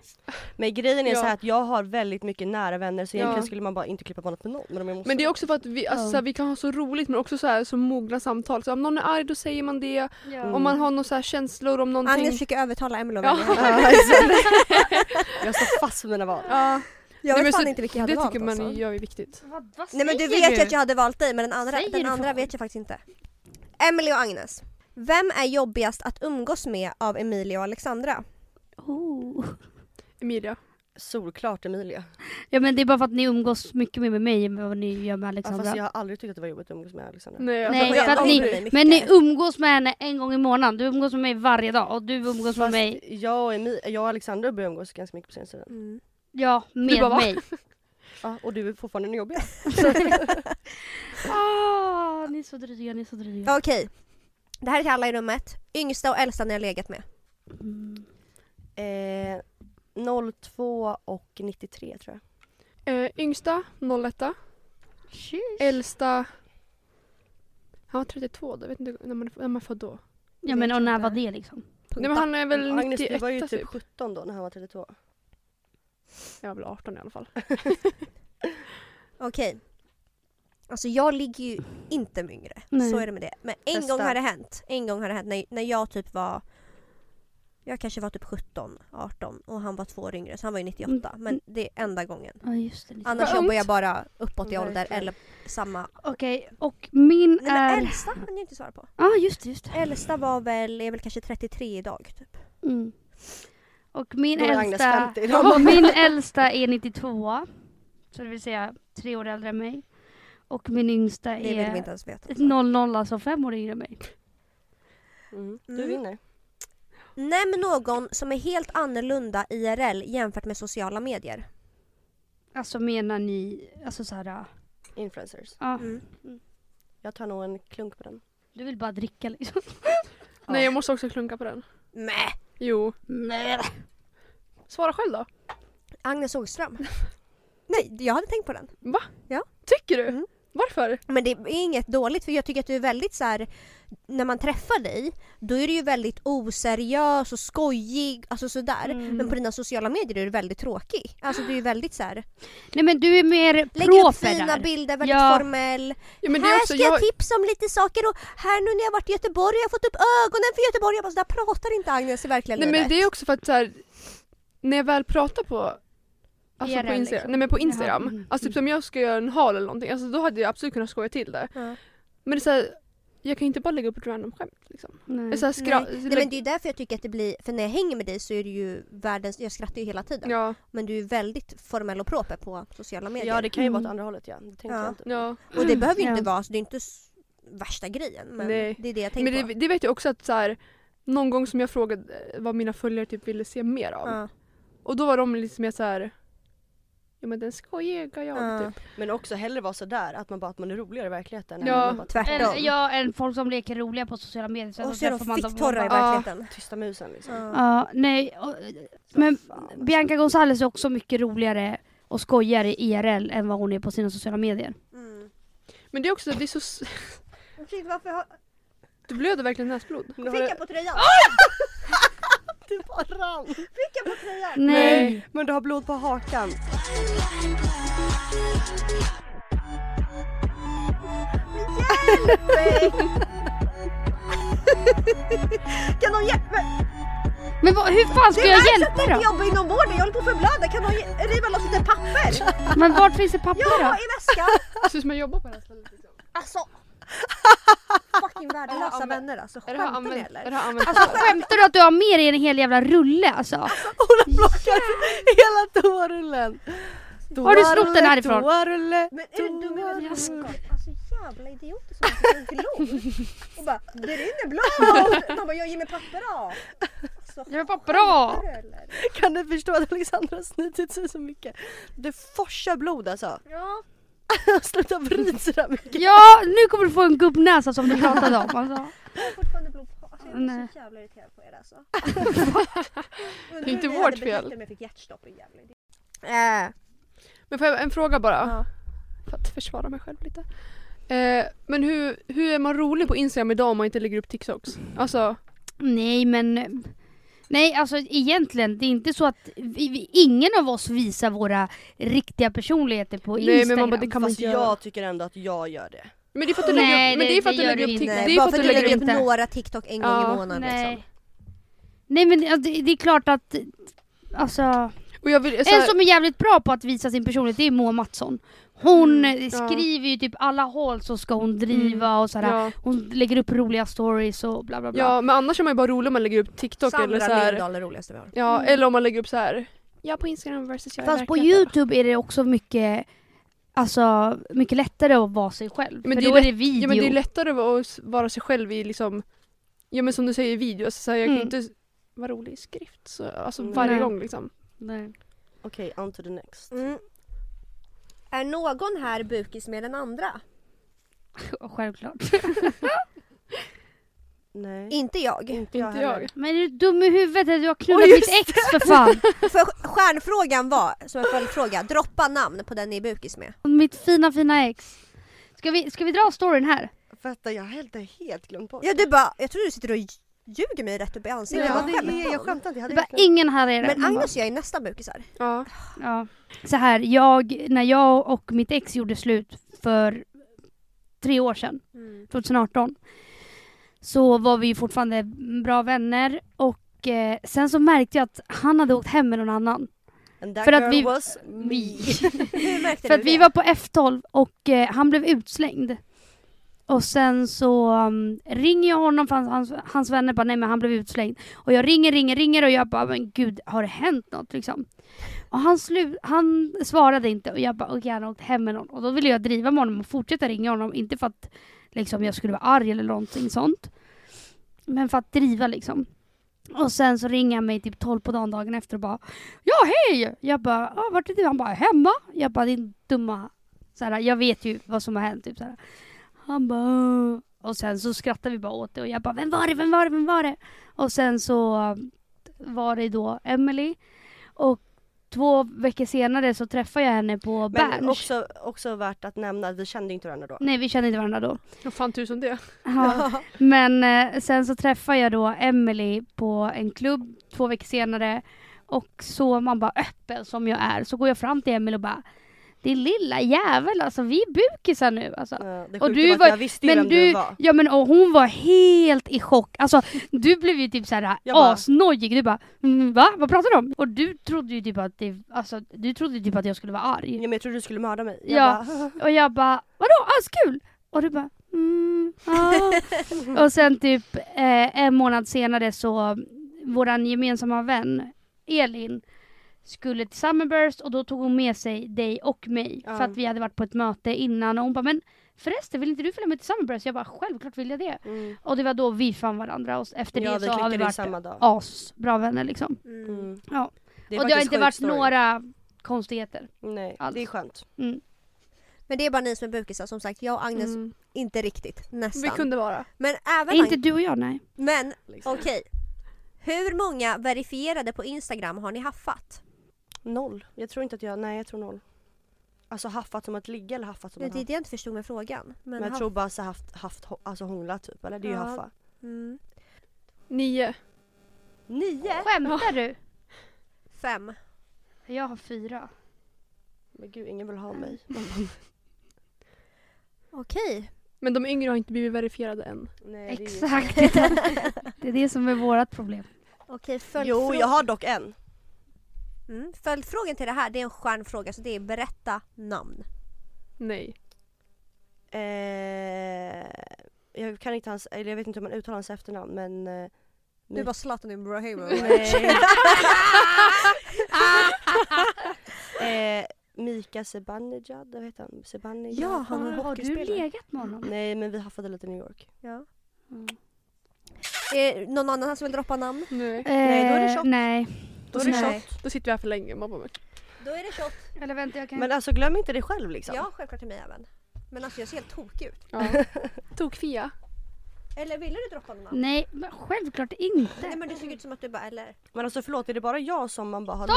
Speaker 5: Men grejen är
Speaker 4: Ja.
Speaker 5: så här att jag har väldigt mycket nära vänner så
Speaker 4: Ja.
Speaker 5: egentligen skulle man bara inte klippa bandet med någon. Men, om jag måste...
Speaker 4: Men det är också för att vi, alltså,
Speaker 1: Ja.
Speaker 4: så här, vi kan ha så roligt men också så, här, så mogna samtal. Så om någon är arg då säger man det.
Speaker 5: Mm.
Speaker 4: Om man har några så här känslor om någonting.
Speaker 2: Agnes försöker övertala Emelie att
Speaker 4: Ja.
Speaker 2: välja henne.
Speaker 5: Ja, exakt. jag står fast vid mina val.
Speaker 4: ja,
Speaker 2: Jag
Speaker 4: Nej,
Speaker 2: vet
Speaker 4: men
Speaker 2: fan
Speaker 4: så
Speaker 2: inte vilka jag
Speaker 4: det
Speaker 2: hade valt
Speaker 4: tycker man
Speaker 2: alltså.
Speaker 4: gör är viktigt.
Speaker 1: Vad, vad
Speaker 2: Nej men du
Speaker 1: säger
Speaker 2: vet ju att jag hade valt dig men den andra,
Speaker 1: Säger
Speaker 2: den
Speaker 1: du
Speaker 2: andra
Speaker 1: fan?
Speaker 2: vet jag faktiskt inte. Emily och Agnes. Vem är jobbigast att umgås med av Emilia och Alexandra?
Speaker 1: Oh.
Speaker 4: Emilia.
Speaker 5: Solklart Emilia.
Speaker 1: Ja men det är bara för att ni umgås mycket mer med mig än vad ni gör med
Speaker 5: Ja,
Speaker 1: Alexandra.
Speaker 5: fast jag har aldrig tyckt att det var jobbigt att umgås med Alexandra.
Speaker 4: Nej, alltså,
Speaker 1: Nej,
Speaker 2: jag
Speaker 1: för att
Speaker 2: umgås med
Speaker 1: ni,
Speaker 2: dig mycket.
Speaker 1: men ni umgås med henne en gång i månaden. Du umgås med mig varje dag och du umgås med
Speaker 5: Fast
Speaker 1: mig,
Speaker 5: Jag och, Emi- jag och Alexandra började umgås ganska mycket på senaste tiden.
Speaker 2: Mm.
Speaker 1: ja med
Speaker 4: bara, va?
Speaker 1: mig.
Speaker 5: Ja, och du är fortfarande den jobbiga.
Speaker 1: Ah, ni är så dryga, ni är så dryga.
Speaker 2: Okej. Det här är till alla i rummet. Yngsta och äldsta ni har legat med.
Speaker 1: Mm.
Speaker 5: Eh, 02 och 93 tror jag.
Speaker 4: Eh, yngsta 01. Äldsta... Han var 32 då, jag vet inte när man, när man är född då.
Speaker 1: Ja men och när var det liksom?
Speaker 4: Nej men han är väl
Speaker 5: Agnes du
Speaker 4: 91
Speaker 5: var ju typ,
Speaker 4: typ.
Speaker 5: 17 då när han var 32.
Speaker 4: Jag var väl 18 i alla fall.
Speaker 2: Okej. Alltså jag ligger ju inte med yngre.
Speaker 1: Nej.
Speaker 2: Så är det med det. Men en
Speaker 5: Testa.
Speaker 2: gång har det hänt. En gång har det hänt när, när jag typ var jag kanske var typ 17, 18 och han var två år yngre så han var ju 98.
Speaker 1: Mm.
Speaker 2: Men det är enda gången.
Speaker 1: Ja just det. Liksom.
Speaker 2: Annars
Speaker 4: Vad
Speaker 2: jobbar jag
Speaker 4: ungt.
Speaker 2: bara uppåt i ålder
Speaker 5: Verkligen.
Speaker 2: eller samma.
Speaker 1: Okej och min
Speaker 2: Nej men
Speaker 1: är...
Speaker 2: äldsta hann jag inte svara på.
Speaker 1: Ja ah, just det, just det.
Speaker 2: Äldsta var väl, är väl kanske 33 idag typ.
Speaker 1: Mm. Och min
Speaker 5: Då är Agnes
Speaker 1: äldsta...
Speaker 5: 50 idag.
Speaker 1: Min äldsta är 92. Så det vill säga tre år äldre än mig. Och min yngsta
Speaker 2: Det vill vi
Speaker 1: är
Speaker 2: inte ens veta.
Speaker 1: 00, alltså fem år yngre än mig.
Speaker 5: Mm. Du
Speaker 2: Mm.
Speaker 5: vinner.
Speaker 2: Nämn någon som är helt annorlunda IRL jämfört med sociala medier.
Speaker 1: Alltså menar ni, alltså såhär... Ja.
Speaker 5: Influencers.
Speaker 1: Ah,
Speaker 2: Mm.
Speaker 5: Jag tar nog en klunk på den.
Speaker 1: Du vill bara dricka liksom.
Speaker 4: Nej jag måste också klunka på den.
Speaker 2: Mäh!
Speaker 4: Jo.
Speaker 1: Nej.
Speaker 4: Svara själv då.
Speaker 2: Agnes Ågström. Nej, jag hade tänkt på den.
Speaker 4: Tycker du?
Speaker 2: Mm.
Speaker 4: Varför?
Speaker 2: Men det är inget dåligt för jag tycker att du är väldigt så här. när man träffar dig då är du ju väldigt oseriös och skojig, alltså sådär.
Speaker 1: Mm.
Speaker 2: Men på dina sociala medier är du väldigt tråkig. Alltså du är väldigt så här.
Speaker 1: Nej men du är mer
Speaker 2: lägger upp
Speaker 1: proper
Speaker 2: fina
Speaker 1: där.
Speaker 2: bilder, väldigt
Speaker 1: Ja.
Speaker 2: formell.
Speaker 4: Ja, men det är
Speaker 2: här
Speaker 4: också,
Speaker 2: ska jag
Speaker 4: jag,
Speaker 2: tipsa om lite saker och här nu när jag varit i Göteborg har jag fått upp ögonen för Göteborg. Jag bara, så där pratar inte Agnes i verkliga
Speaker 4: nej, men
Speaker 2: livet.
Speaker 4: det är också för att så här, när jag väl pratar på Alltså
Speaker 1: IRL,
Speaker 4: på Instagram,
Speaker 1: liksom.
Speaker 4: nej, men på Instagram.
Speaker 1: Jaha, mm,
Speaker 4: Alltså typ
Speaker 1: mm.
Speaker 4: som jag ska göra en hal eller någonting, alltså då hade jag absolut kunnat skoja till det.
Speaker 2: Ja.
Speaker 4: Men det är så här, jag kan ju inte bara lägga upp ett random skämt liksom.
Speaker 1: Nej.
Speaker 4: Eller Så här, skra-
Speaker 2: Mm. Nej.
Speaker 4: lägg-
Speaker 2: Nej, men det är ju därför jag tycker att det blir, för när jag hänger med dig så är du ju världens, jag skrattar ju hela tiden.
Speaker 4: ja,
Speaker 2: Men du är väldigt formell och proper på sociala medier.
Speaker 5: Ja det kan ju vara åt
Speaker 1: Mm.
Speaker 5: andra hållet ja. Det tänkte
Speaker 2: Ja.
Speaker 5: jag inte på.
Speaker 4: ja.
Speaker 2: Och det behöver ju inte
Speaker 1: Ja.
Speaker 2: vara, så det är inte s- värsta grejen. Men
Speaker 4: Nej.
Speaker 2: det är det jag tänker
Speaker 4: Men det,
Speaker 2: på.
Speaker 4: det vet jag också att så här, någon gång som jag frågade eh, vad mina följare typ ville se mer av.
Speaker 2: Ja.
Speaker 4: Och då var de lite mer så här. Ja men den skojiga jag
Speaker 2: Ja.
Speaker 4: typ.
Speaker 5: Men också hellre vara sådär, att man bara att man är roligare i verkligheten. än
Speaker 4: Ja,
Speaker 5: att man bara,
Speaker 2: tvärtom.
Speaker 1: En, ja, en folk som leker roliga på sociala medier. Sen
Speaker 2: Och
Speaker 1: så
Speaker 2: så är de
Speaker 1: träffar man dem och
Speaker 2: ficktorra i
Speaker 1: bara-
Speaker 2: verkligheten.
Speaker 5: Tysta musen liksom.
Speaker 2: Ja.
Speaker 1: Ja, nej. och- Men Bianca Gonzales är också mycket roligare och skojigare i IRL än vad hon är på sina sociala medier.
Speaker 2: Mm.
Speaker 4: Men det är också, det är så... s-
Speaker 2: Shit, varför har...
Speaker 4: Du blöder verkligen näsblod.
Speaker 5: Nu har
Speaker 2: Pricka
Speaker 5: det-
Speaker 2: på tröjan!
Speaker 5: det bara rann.
Speaker 2: Pricka på tröjan!
Speaker 1: Nej.
Speaker 5: Men du har blod på hakan.
Speaker 2: Kan någon hjälpa mig?
Speaker 1: Men vad, hur fan ska
Speaker 2: Det är
Speaker 1: jag
Speaker 2: därför att
Speaker 1: hjälpa
Speaker 2: inte
Speaker 1: då?
Speaker 2: jag jobbar inom vården, jag håller på att förblöda. Kan någon ge- riva loss lite papper?
Speaker 1: Men vart finns det papper
Speaker 2: Ja,
Speaker 1: då?
Speaker 2: i väskan!
Speaker 4: Det ser ut som jag jobbar på det här stället. Liksom.
Speaker 2: Alltså! Fucking värdelösa
Speaker 4: använt-
Speaker 2: vänner alltså,
Speaker 4: Är det här
Speaker 2: skämtar ni
Speaker 4: använt? Är
Speaker 2: eller?
Speaker 4: det här använt?
Speaker 1: Alltså skämtar du att du har med dig en hel jävla rulle alltså?
Speaker 5: Hon plockar hela toarullen.
Speaker 1: Har du snott den härifrån?
Speaker 5: Toarulle,
Speaker 2: Men är du dum i huvudet?
Speaker 1: Jag skojar.
Speaker 2: Alltså jävla idioter som har en glor och bara det rinner blod! De bara jag ger mig papper då! Alltså,
Speaker 1: Jag papper då!
Speaker 2: skämtar du, eller?
Speaker 5: Kan du förstå att Alexandra har snutit sig så mycket? Det forsar blod alltså.
Speaker 2: Ja,
Speaker 5: Sluta vrid sådär mycket.
Speaker 1: Ja, nu kommer du få en gubbnäsa som du pratade om alltså.
Speaker 2: jag har fortfarande blod på. Alltså, jag är
Speaker 1: Nej.
Speaker 2: så jävla irriterad på er alltså.
Speaker 4: Det är inte vårt fel.
Speaker 2: Jag fick hjärtstopp, en jävla idiot. Äh,
Speaker 4: Men får jag en fråga bara?
Speaker 2: Ja.
Speaker 4: För att försvara mig själv lite. Eh, men hur, hur är man rolig på Instagram idag om man inte lägger upp TikToks? Alltså,
Speaker 1: Nej men... Nej alltså egentligen, det är inte så att vi, vi, ingen av oss visar våra riktiga personligheter på
Speaker 4: Nej, men man
Speaker 1: Instagram.
Speaker 4: bara, det kan man
Speaker 5: Fast
Speaker 4: inte göra.
Speaker 5: jag tycker ändå att jag gör det.
Speaker 4: Men det är för att du lägger
Speaker 1: Nej,
Speaker 4: upp, men
Speaker 1: det-
Speaker 4: det är för att
Speaker 1: det
Speaker 4: du
Speaker 1: gör
Speaker 4: lägger
Speaker 1: du
Speaker 4: upp
Speaker 1: inte.
Speaker 2: nej,
Speaker 4: TikTok. Det är
Speaker 2: bara
Speaker 4: för att du lägger upp
Speaker 2: upp
Speaker 1: inte.
Speaker 2: några TikTok en gång
Speaker 4: Ja,
Speaker 2: i månaden liksom.
Speaker 1: Nej men alltså, det, det är klart att... Alltså...
Speaker 4: och jag vill, så
Speaker 1: En
Speaker 4: här,
Speaker 1: som är jävligt bra på att visa sin personlighet det är Moa Mattsson. Hon eh,
Speaker 4: Mm, ja. Mm,
Speaker 1: skriver ju typ alla håll så ska hon driva och sådär.
Speaker 4: ja,
Speaker 1: Hon lägger upp roliga stories och bla bla bla.
Speaker 4: ja, men annars är man ju bara rolig om man lägger upp TikTok eller så
Speaker 2: Sandra
Speaker 4: här.
Speaker 2: Lindahl är roligaste vi har.
Speaker 4: Ja, eller om man lägger upp så här. Jag på Instagram versus jag i
Speaker 1: Fast på
Speaker 4: verkligheten.
Speaker 1: Youtube är det också mycket Alltså mycket lättare att vara sig själv.
Speaker 4: men
Speaker 1: Men
Speaker 4: det
Speaker 1: För
Speaker 4: är
Speaker 1: då är
Speaker 4: lätt-
Speaker 1: det video.
Speaker 4: Ja men det är lättare att vara- att vara sig själv i liksom, ja men som du säger i video, alltså, så här, jag kan
Speaker 1: Mm.
Speaker 4: ju inte vara rolig i skrift så, alltså
Speaker 5: Mm.
Speaker 4: varje
Speaker 1: Nej.
Speaker 4: gång liksom.
Speaker 1: Nej.
Speaker 5: Okej, on to the next.
Speaker 2: Mm. Är någon här bukis med den andra?
Speaker 1: Självklart.
Speaker 5: Nej.
Speaker 2: Inte jag.
Speaker 5: Inte
Speaker 4: Inte jag.
Speaker 1: Men är du dum i huvudet? Du har knullat
Speaker 5: Oj, just
Speaker 1: ditt ex för fan.
Speaker 2: För stjärnfrågan var, som en följdfråga, droppa namn på den ni är bukis med.
Speaker 1: Mitt fina fina ex. Ska vi, ska vi dra storyn här?
Speaker 5: Vänta, jag har helt, helt glömt bort.
Speaker 2: Ja du bara, jag tror du sitter och ljuger mig rätt upp i ansiktet.
Speaker 4: Ja,
Speaker 2: Jag bara,
Speaker 5: det är, jag
Speaker 2: "Skämtar
Speaker 5: skämtar inte. Jag
Speaker 1: Det
Speaker 5: hade
Speaker 1: var
Speaker 5: verkligen-
Speaker 1: ingen här är
Speaker 2: du?"
Speaker 1: det.
Speaker 2: Men
Speaker 1: Man bara-
Speaker 2: Agnes och jag är nästan bukisar.
Speaker 4: Ja.
Speaker 1: Ja. Så här, jag, när jag och mitt ex gjorde slut för tre år sedan,
Speaker 2: Mm.
Speaker 1: 2018, så var vi ju fortfarande bra vänner och eh, sen så märkte jag att han hade åkt hem med någon annan.
Speaker 5: And that
Speaker 1: För att
Speaker 5: girl
Speaker 1: vi-
Speaker 5: was me.
Speaker 2: Hur
Speaker 1: För
Speaker 2: märkte du
Speaker 1: att vi
Speaker 2: det?
Speaker 1: var på F12 och eh, han blev utslängd. Och sen så um, ringer jag honom för hans, hans, hans vänner bara nej men han blev utslängd. Och jag ringer, ringer, ringer och jag bara men gud har det hänt något liksom? Och han, slu- han svarade inte och jag bara okej han har åkt hem med någon. Och då ville jag driva med honom och fortsätta ringa honom. Inte för att liksom, jag skulle vara arg eller någonting sånt. Men för att driva liksom. Och sen så ringer han mig typ 12 på dagen dagen efter och bara Ja hej! Jag bara ah, vart är du? Han bara hemma. Jag bara din dumma så här, jag vet ju vad som har hänt. Typ, så här. Han bara "Åh." Och sen så skrattade vi bara åt det och jag bara vem var det, vem var det, vem var det? Och sen så var det då Emily och två veckor senare så träffade jag henne på
Speaker 5: Men
Speaker 1: Berns.
Speaker 5: också, också värt att nämna att vi kände inte varandra då.
Speaker 1: Nej vi kände inte varandra då.
Speaker 4: Vad fan tusen det.
Speaker 1: Ja. Men eh, sen så träffade jag då Emily på en klubb två veckor senare och så man bara öppen som jag är så går jag fram till Emily och bara din lilla jävel alltså vi är bukisar nu alltså.
Speaker 5: Ja, Eh, det
Speaker 1: Och
Speaker 5: sjuka
Speaker 1: du
Speaker 5: var att
Speaker 1: var-
Speaker 5: jag visste ju vem du, var.
Speaker 1: Ja men och hon var helt i chock. Alltså du blev ju typ såhär
Speaker 5: Jag bara-
Speaker 1: asnojig. Du bara mm, va? Vad pratar du om? Och du trodde ju typ att det, alltså du trodde ju typ att jag skulle vara
Speaker 5: Ja,
Speaker 1: arg.
Speaker 5: men jag trodde du skulle mörda mig.
Speaker 1: Ja.
Speaker 5: Jag bara,
Speaker 1: Och jag bara vadå askul? Och du bara mm, ja. Och sen typ eh, en månad senare så våran gemensamma vän Elin skulle till Summerburst och då tog hon med sig dig och mig
Speaker 5: Ja.
Speaker 1: för att vi hade varit på ett möte innan och hon bara men förresten vill inte du följa med till Summerburst? Jag bara självklart vill jag det.
Speaker 5: mm.
Speaker 1: Och det var då vi fann varandra och efter
Speaker 5: ja,
Speaker 1: det
Speaker 5: vi
Speaker 1: så har vi
Speaker 5: klickade ju
Speaker 1: varit
Speaker 5: samma dag.
Speaker 1: asbra vänner liksom.
Speaker 2: Mm.
Speaker 5: Mm.
Speaker 1: Ja.
Speaker 5: Det är
Speaker 1: och det har
Speaker 5: faktiskt
Speaker 1: inte
Speaker 5: sjuk
Speaker 1: varit
Speaker 5: story.
Speaker 1: några konstigheter. Mm.
Speaker 5: Nej,
Speaker 1: Allt.
Speaker 5: det är skönt.
Speaker 2: Men det är bara ni som är bukisar som sagt. Jag och Agnes,
Speaker 4: Mm.
Speaker 2: inte riktigt. Nästan.
Speaker 4: Vi kunde vara.
Speaker 2: Men även
Speaker 1: Inte
Speaker 2: Agnes,
Speaker 1: du och jag, nej.
Speaker 2: Men
Speaker 5: Liksom.
Speaker 2: okej. Hur många verifierade på Instagram har ni haffat?
Speaker 5: Noll. Jag tror inte att jag, nej jag tror noll. Alltså haffat som att ligga eller haffat som
Speaker 2: Det
Speaker 5: att
Speaker 2: är det
Speaker 5: haffa?
Speaker 2: jag inte förstod med frågan. Men
Speaker 5: Men jag
Speaker 2: haff-
Speaker 5: tror bara så haft, haft, ho- alltså hångla typ eller det är ju
Speaker 2: Ja.
Speaker 5: haffa.
Speaker 2: mm.
Speaker 4: Nio.
Speaker 5: Nio?
Speaker 1: Skämtar du?
Speaker 2: Fem.
Speaker 1: Jag har fyra.
Speaker 5: Men gud ingen vill ha mig.
Speaker 2: Okej.
Speaker 4: Men de yngre har inte blivit verifierade än.
Speaker 5: Nej, det är ju-
Speaker 1: Exakt. det är det som är vårt problem.
Speaker 2: Okej, följdfrå-
Speaker 5: Jo jag har dock en.
Speaker 2: mm. Följdfrågan till det här, det är en stjärnfråga så det är berätta namn.
Speaker 4: Nej.
Speaker 5: Eh, jag kan inte hans, eller jag vet inte hur man uttalar hans efternamn men eh,
Speaker 2: Du
Speaker 5: Mik-
Speaker 2: var Zlatan Ibrahimovic.
Speaker 5: Nej. eh, Mika Zibanejad, vad heter han? Zibanejad?
Speaker 2: Ja, han är
Speaker 1: Har du
Speaker 5: hockeyspelare.
Speaker 1: legat med honom?
Speaker 5: Nej men vi haffade lite New York.
Speaker 2: ja.
Speaker 1: Mm.
Speaker 2: Är det någon annan som vill droppa namn?
Speaker 4: Nej.
Speaker 5: Nej, då är det
Speaker 1: Eh,
Speaker 5: shot.
Speaker 1: Nej.
Speaker 4: Då, är det
Speaker 2: Nej.
Speaker 4: shot. då sitter vi här för länge. Man bara, men-
Speaker 2: Då är det shot.
Speaker 1: Eller vänta, jag kan...
Speaker 5: Men alltså glöm inte det själv liksom.
Speaker 2: Ja, självklart till mig även. Men alltså jag ser helt tokig ut.
Speaker 4: ja. Tokfia.
Speaker 2: Eller ville du droppa någon namn?
Speaker 1: Nej, men självklart inte.
Speaker 2: Nej men du såg ut som att du bara, eller?
Speaker 5: Men alltså förlåt, är det bara jag som man bara har
Speaker 1: Nej,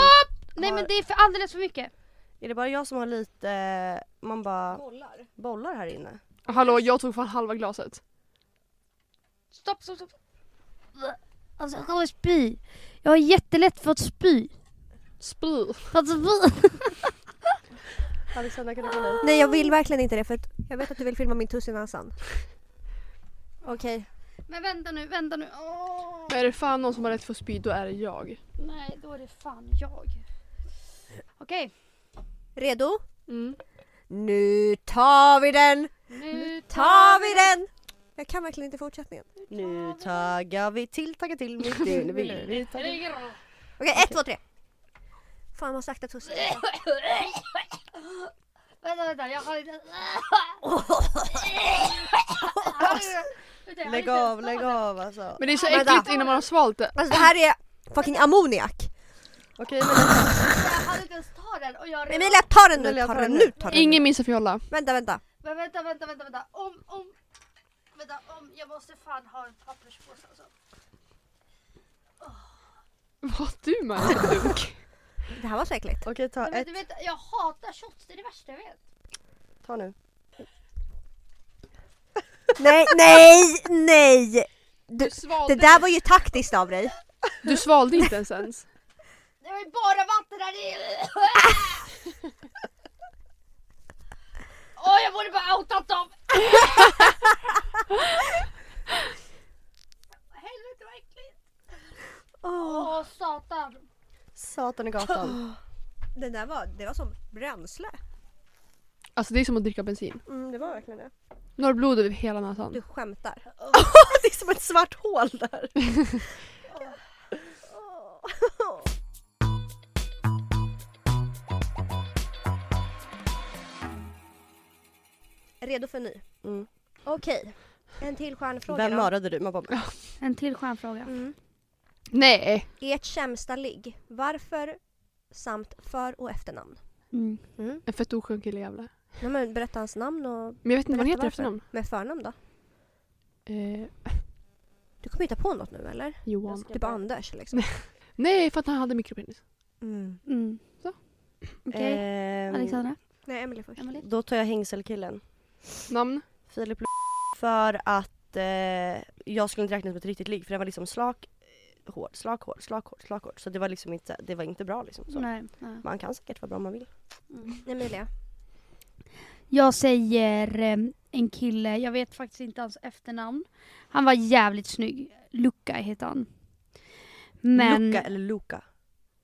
Speaker 1: men
Speaker 5: har-
Speaker 1: det är för alldeles för mycket.
Speaker 5: Är det bara jag som har lite, eh, man bara
Speaker 2: Bollar.
Speaker 5: bollar här inne?
Speaker 4: Hallå, jag tog fan halva glaset.
Speaker 1: Stopp, stopp, stopp. Alltså jag kommer spy. Jag har jättelätt för att spy. Alltså,
Speaker 4: Spy.
Speaker 1: För att spy.
Speaker 5: Alexandra kan du gå dit?
Speaker 2: Nej jag vill verkligen inte det för att jag vet att du vill filma min tuss i näsan. Okej.
Speaker 1: Men vänta nu, vänta nu. Åh.
Speaker 4: Är det fan någon som har rätt för spy, då är det jag.
Speaker 1: Nej, då är det fan jag. Okej,
Speaker 2: Redo?
Speaker 4: Mm.
Speaker 2: Nu tar vi den!
Speaker 1: nu
Speaker 2: Tar vi den! Jag kan verkligen inte fortsättningen.
Speaker 5: Nu taggar vi till, taggar till mitt dygn. Vill vi tagga-
Speaker 2: Okej, ett, två, tre! Äh. Fan vad sakta tussen.
Speaker 1: Vänta, vänta, jag har inte...
Speaker 5: Lägg av, lägg av alltså.
Speaker 4: Men det är så
Speaker 2: Vänta.
Speaker 4: äckligt innan man har svalt det.
Speaker 2: Alltså det här är fucking ammoniak.
Speaker 5: Okej men
Speaker 1: Jag hade inte ens ta den och jag...
Speaker 2: Emilia ta den nu,
Speaker 5: Emilia,
Speaker 2: ta den nu, ta den nu.
Speaker 4: Ingen minns att fjolla.
Speaker 2: Vänta, vänta.
Speaker 1: Men vänta, vänta, vänta, vänta. Om, om... Vänta, om. Jag måste fan ha en papperspåse alltså.
Speaker 4: Vad du med dig, dunk?
Speaker 2: Det här var så äckligt.
Speaker 5: okej ta
Speaker 1: Men vet
Speaker 5: ett,
Speaker 1: du vet, jag hatar shots, det är det värsta jag vet.
Speaker 5: ta nu.
Speaker 2: Nej, nej, nej! Du,
Speaker 4: Du svalde,
Speaker 2: det där var ju taktiskt av dig.
Speaker 4: du svalde inte ens ens.
Speaker 1: Det var ju bara vatten där i. Åh, jag borde bara outat dem! Helvete vad äckligt!
Speaker 2: Åh,
Speaker 1: Åh, satan.
Speaker 5: Satan i gatan.
Speaker 2: det där var, det var som bränsle.
Speaker 4: Alltså det är som att dricka bensin.
Speaker 2: Mm, det var verkligen det.
Speaker 4: Nu har du blod över hela näsan.
Speaker 2: Du skämtar.
Speaker 5: Ah, Det är som ett svart hål där.
Speaker 2: Redo för en ny?
Speaker 5: Mm.
Speaker 2: Okej. En till stjärnfråga
Speaker 5: Vem
Speaker 2: då.
Speaker 5: mördade du? Man bara,
Speaker 1: En till stjärnfråga.
Speaker 2: Mm.
Speaker 4: Nej!
Speaker 2: Ert sämsta ligg. Varför? Samt för och efternamn.
Speaker 1: Mm.
Speaker 4: En fett oskön kille i Gävle.
Speaker 2: Nej, men berätta hans namn och
Speaker 4: Men jag vet inte vad han
Speaker 2: berätta
Speaker 4: heter i
Speaker 2: varför.
Speaker 4: efternamn.
Speaker 2: Med förnamn då?
Speaker 4: Eh,
Speaker 2: Du kommer hitta på något nu eller?
Speaker 4: Johan.
Speaker 2: Typ Anders liksom.
Speaker 4: Nej, för att han hade mikropenis.
Speaker 2: Mm.
Speaker 1: Mm.
Speaker 4: Så.
Speaker 1: Okej,
Speaker 5: ehm,
Speaker 1: Alexandra.
Speaker 2: Nej, Emelie först.
Speaker 1: Emily.
Speaker 5: Då tar jag hängselkillen.
Speaker 4: Namn?
Speaker 5: Filip L- för att eh, jag skulle inte räknas med ett riktigt ligg för det var liksom slak, eh, hård, slak, hård, slak, hård, slak, hård. Så det var liksom inte, det var inte bra liksom. Så.
Speaker 1: Nej, nej.
Speaker 5: Man kan säkert vara bra om man vill.
Speaker 2: Emilia.
Speaker 1: Mm. Jag säger eh, en kille, jag vet faktiskt inte hans efternamn. Han var jävligt snygg. Luca heter han. Men...
Speaker 5: Luka eller Luka?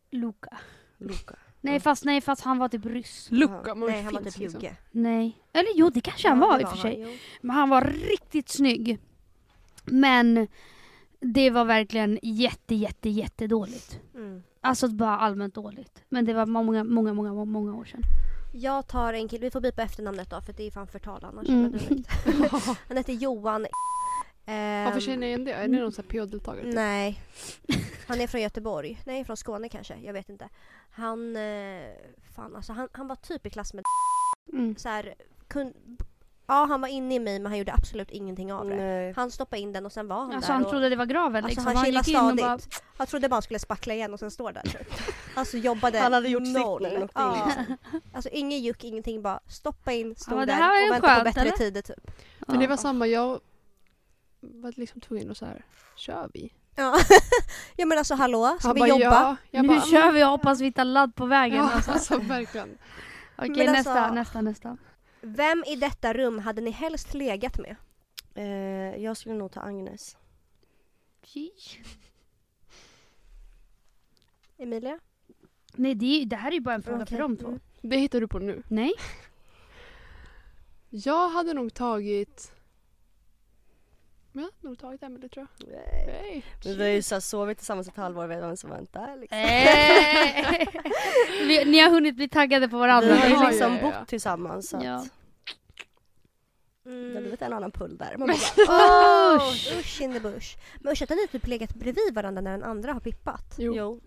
Speaker 1: Luca.
Speaker 5: Luka.
Speaker 1: Nej fast, nej fast han var typ ryss.
Speaker 4: Lucka. Man
Speaker 2: Nej, han var
Speaker 4: finns, liksom.
Speaker 2: typ Jugge.
Speaker 1: Nej. Eller jo det kanske han
Speaker 2: Ja,
Speaker 1: var
Speaker 2: det
Speaker 1: i och för
Speaker 2: han,
Speaker 1: sig.
Speaker 2: jo.
Speaker 1: Men han var riktigt snygg. Men det var verkligen jätte jätte jätte dåligt.
Speaker 2: Mm.
Speaker 1: Alltså bara allmänt dåligt. Men det var många, många, många, många år sedan.
Speaker 2: Jag tar en kille, vi får bipa efternamnet då för det är fan förtal annars.
Speaker 1: Mm.
Speaker 2: Men det är lugnt. Han heter Johan Ehm,
Speaker 4: Varför känner jag igen det? Är det någon sån här PH-deltagare? typ?
Speaker 2: Nej. Han är från Göteborg. Nej, från Skåne kanske. Jag vet inte. Han, eh, fan alltså, han, han var typ i klass med
Speaker 1: Mm.
Speaker 2: så här, kun, Ja, han var inne i mig men han gjorde absolut ingenting av det.
Speaker 5: Nej.
Speaker 2: Han stoppade in den och sen var han
Speaker 1: Alltså
Speaker 2: där.
Speaker 1: han
Speaker 2: och,
Speaker 1: trodde det var graven
Speaker 2: Alltså,
Speaker 1: liksom.
Speaker 2: han
Speaker 1: han
Speaker 2: killar
Speaker 1: gick in och bara...
Speaker 2: stadigt. jag trodde bara han skulle spackla igen och sen står där. typ. Alltså jobbade
Speaker 5: Han hade gjort sitt
Speaker 2: noll.
Speaker 5: när han åkte in,
Speaker 2: ja. Alltså ingen juck, ingenting. Bara stoppa in, stå
Speaker 1: Ja, men det
Speaker 2: där
Speaker 1: här var ju
Speaker 2: och vänta på
Speaker 1: skönt,
Speaker 2: bättre
Speaker 1: eller?
Speaker 2: tider typ.
Speaker 4: Men det var
Speaker 1: Ja.
Speaker 4: samma, jag var liksom tvungen att så här, kör vi?
Speaker 2: Ja. ja men alltså hallå, ska
Speaker 4: Han
Speaker 2: vi
Speaker 4: bara,
Speaker 2: jobba?
Speaker 4: Ja. Jag
Speaker 1: nu
Speaker 2: "Ah."
Speaker 4: bara,
Speaker 1: kör vi och hoppas vi hittar ladd på vägen.
Speaker 4: Ja,
Speaker 1: Alltså.
Speaker 4: alltså verkligen.
Speaker 1: Okej
Speaker 2: Men alltså-
Speaker 1: nästa, nästa, nästa.
Speaker 2: Vem i detta rum hade ni helst legat med?
Speaker 5: Eh, jag skulle nog ta Agnes.
Speaker 2: Emilia?
Speaker 1: Nej det, är ju- det här är ju bara en fråga
Speaker 2: Okej.
Speaker 1: för de två.
Speaker 2: Mm.
Speaker 4: Det hittar du på nu.
Speaker 1: Nej.
Speaker 4: Jag hade nog tagit... Men jag hade nog tagit Emelie tror
Speaker 5: Eh,
Speaker 4: jag. Nej.
Speaker 5: Men vi har ju så här sovit tillsammans ett halvår, vet vem som väntar. Liksom.
Speaker 1: Eh. Vi- Ni har hunnit bli taggade på varandra.
Speaker 5: Vi har
Speaker 4: Ja,
Speaker 5: ju
Speaker 4: ja,
Speaker 5: liksom
Speaker 4: ja, ja.
Speaker 5: bott tillsammans så att
Speaker 1: Ja.
Speaker 5: det har
Speaker 2: Mm.
Speaker 5: blivit en annan pull där. Man bara,
Speaker 2: Oh, usch in the bush. Men usch att ni typ legat bredvid varandra när den andra har pippat.
Speaker 4: Jo.
Speaker 5: jo.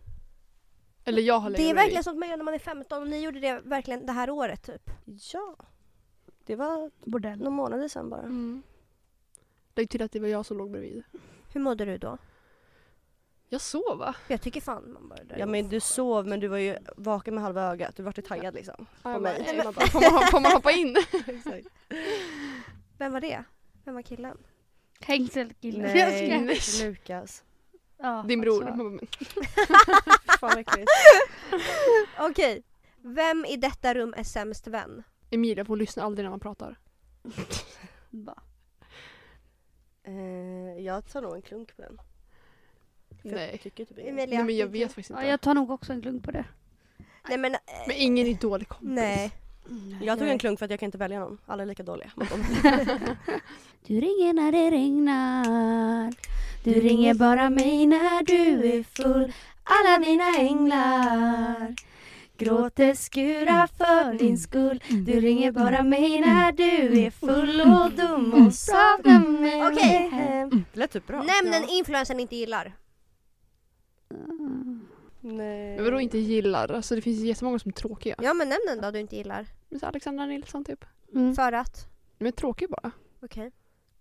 Speaker 4: Eller jag har
Speaker 2: Det är
Speaker 4: legat
Speaker 2: verkligen sånt man gör när man är 15 och ni gjorde det verkligen det här året typ.
Speaker 5: Ja. Det var
Speaker 1: Bordell.
Speaker 5: några månader sedan bara.
Speaker 4: Mm. Lägg till att det var jag som låg bredvid.
Speaker 2: Hur mådde du då?
Speaker 4: Jag sov va?
Speaker 2: Jag tycker fan man bara...
Speaker 5: Ja men du sov men du var ju vaken med halva ögat. Du var ju taggad liksom.
Speaker 4: Jag
Speaker 5: mig.
Speaker 4: bara, nej, man bara, får, man, får man hoppa in?
Speaker 5: Exakt.
Speaker 2: Vem var det? Vem var killen?
Speaker 1: Hängselkille. Jag skojar.
Speaker 5: Nej, Lukas.
Speaker 1: Ja,
Speaker 4: Din bror. Man
Speaker 1: alltså.
Speaker 4: bara, men-
Speaker 5: Fan vad äckligt.
Speaker 2: Okej. Vem i detta rum är sämst vän?
Speaker 4: Emilia, för hon lyssnar aldrig när man pratar.
Speaker 1: Va?
Speaker 5: Eh, jag tar nog en klunk på den. För
Speaker 4: Nej.
Speaker 5: Jag tycker typ inget.
Speaker 2: Emilia?
Speaker 4: nej men jag vet faktiskt
Speaker 1: Ja,
Speaker 4: inte.
Speaker 1: jag tar nog också en klunk på det.
Speaker 2: Nej men... eh,
Speaker 4: Men ingen är dålig kompis.
Speaker 2: Nej.
Speaker 5: Jag tog
Speaker 2: Nej.
Speaker 5: en klunk för att jag kan inte välja någon. Alla är lika dåliga. Man bara,
Speaker 1: Du ringer när det regnar. Du ringer bara mig när du är full. Alla mina änglar. Gråter skura för din skull. Du ringer bara mig när du är full och dum och saknar mig.
Speaker 2: Okej.
Speaker 5: eh, det lät typ bra.
Speaker 2: Nämn
Speaker 5: Ja.
Speaker 2: en influencer ni inte gillar.
Speaker 5: Mm. Nej.
Speaker 4: Men vadå inte gillar? Alltså det finns jättemånga som är tråkiga.
Speaker 2: Ja men nämn en då du inte gillar.
Speaker 4: Men så Alexandra Nilsson typ.
Speaker 1: Mm.
Speaker 2: För att?
Speaker 4: De är tråkiga bara.
Speaker 2: Okej.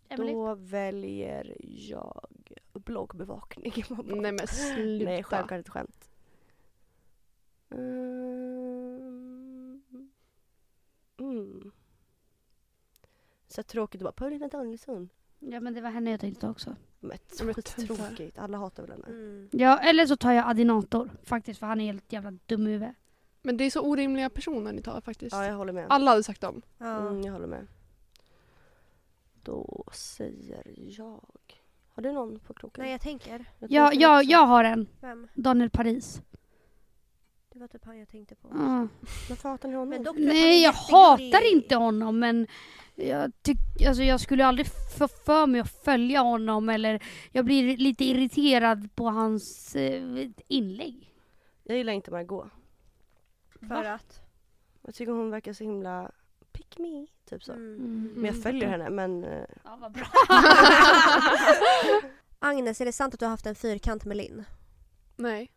Speaker 1: Emily?
Speaker 5: Då väljer jag bloggbevakning. Man bara,
Speaker 4: Nej men sluta.
Speaker 5: Nej, självklart ett skämt. Mm. Mm. Så tråkigt att bara Paulina Danielsson.
Speaker 1: Ja men det var henne jag tänkte också.
Speaker 5: Men
Speaker 4: Ja, men
Speaker 5: tråkigt. Alla hatar väl henne.
Speaker 2: Mm.
Speaker 1: Ja eller så tar jag Adinator faktiskt för han är helt jävla dum i huvudet.
Speaker 4: Men det är så orimliga personer ni tar faktiskt.
Speaker 5: Ja, jag håller med.
Speaker 4: Alla hade sagt dem.
Speaker 2: Ja.
Speaker 5: Mm, jag håller med. Då säger jag... Har du någon på kroken?
Speaker 2: Nej jag tänker.
Speaker 5: Jag tror
Speaker 1: Ja,
Speaker 5: jag
Speaker 1: jag,
Speaker 5: också.
Speaker 1: jag har en.
Speaker 2: Vem?
Speaker 1: Daniel Paris.
Speaker 2: Det var typ han jag tänkte på.
Speaker 1: Mm.
Speaker 5: Varför hatar ni honom?
Speaker 2: Men dock,
Speaker 1: Nej jag
Speaker 2: han är jättegullig.
Speaker 1: hatar inte honom men jag, tyck, alltså, jag skulle aldrig få för mig att följa honom eller jag blir lite irriterad på hans eh, inlägg.
Speaker 5: Jag gillar inte Margot.
Speaker 2: För att?
Speaker 5: Jag tycker hon verkar så himla pick me, typ så.
Speaker 2: Mm.
Speaker 5: Men
Speaker 1: Mm.
Speaker 5: jag följer henne men... eh,
Speaker 1: Ja, vad bra. Alltså,
Speaker 2: Agnes, är det sant att du har haft en fyrkant med Linn?
Speaker 4: Nej.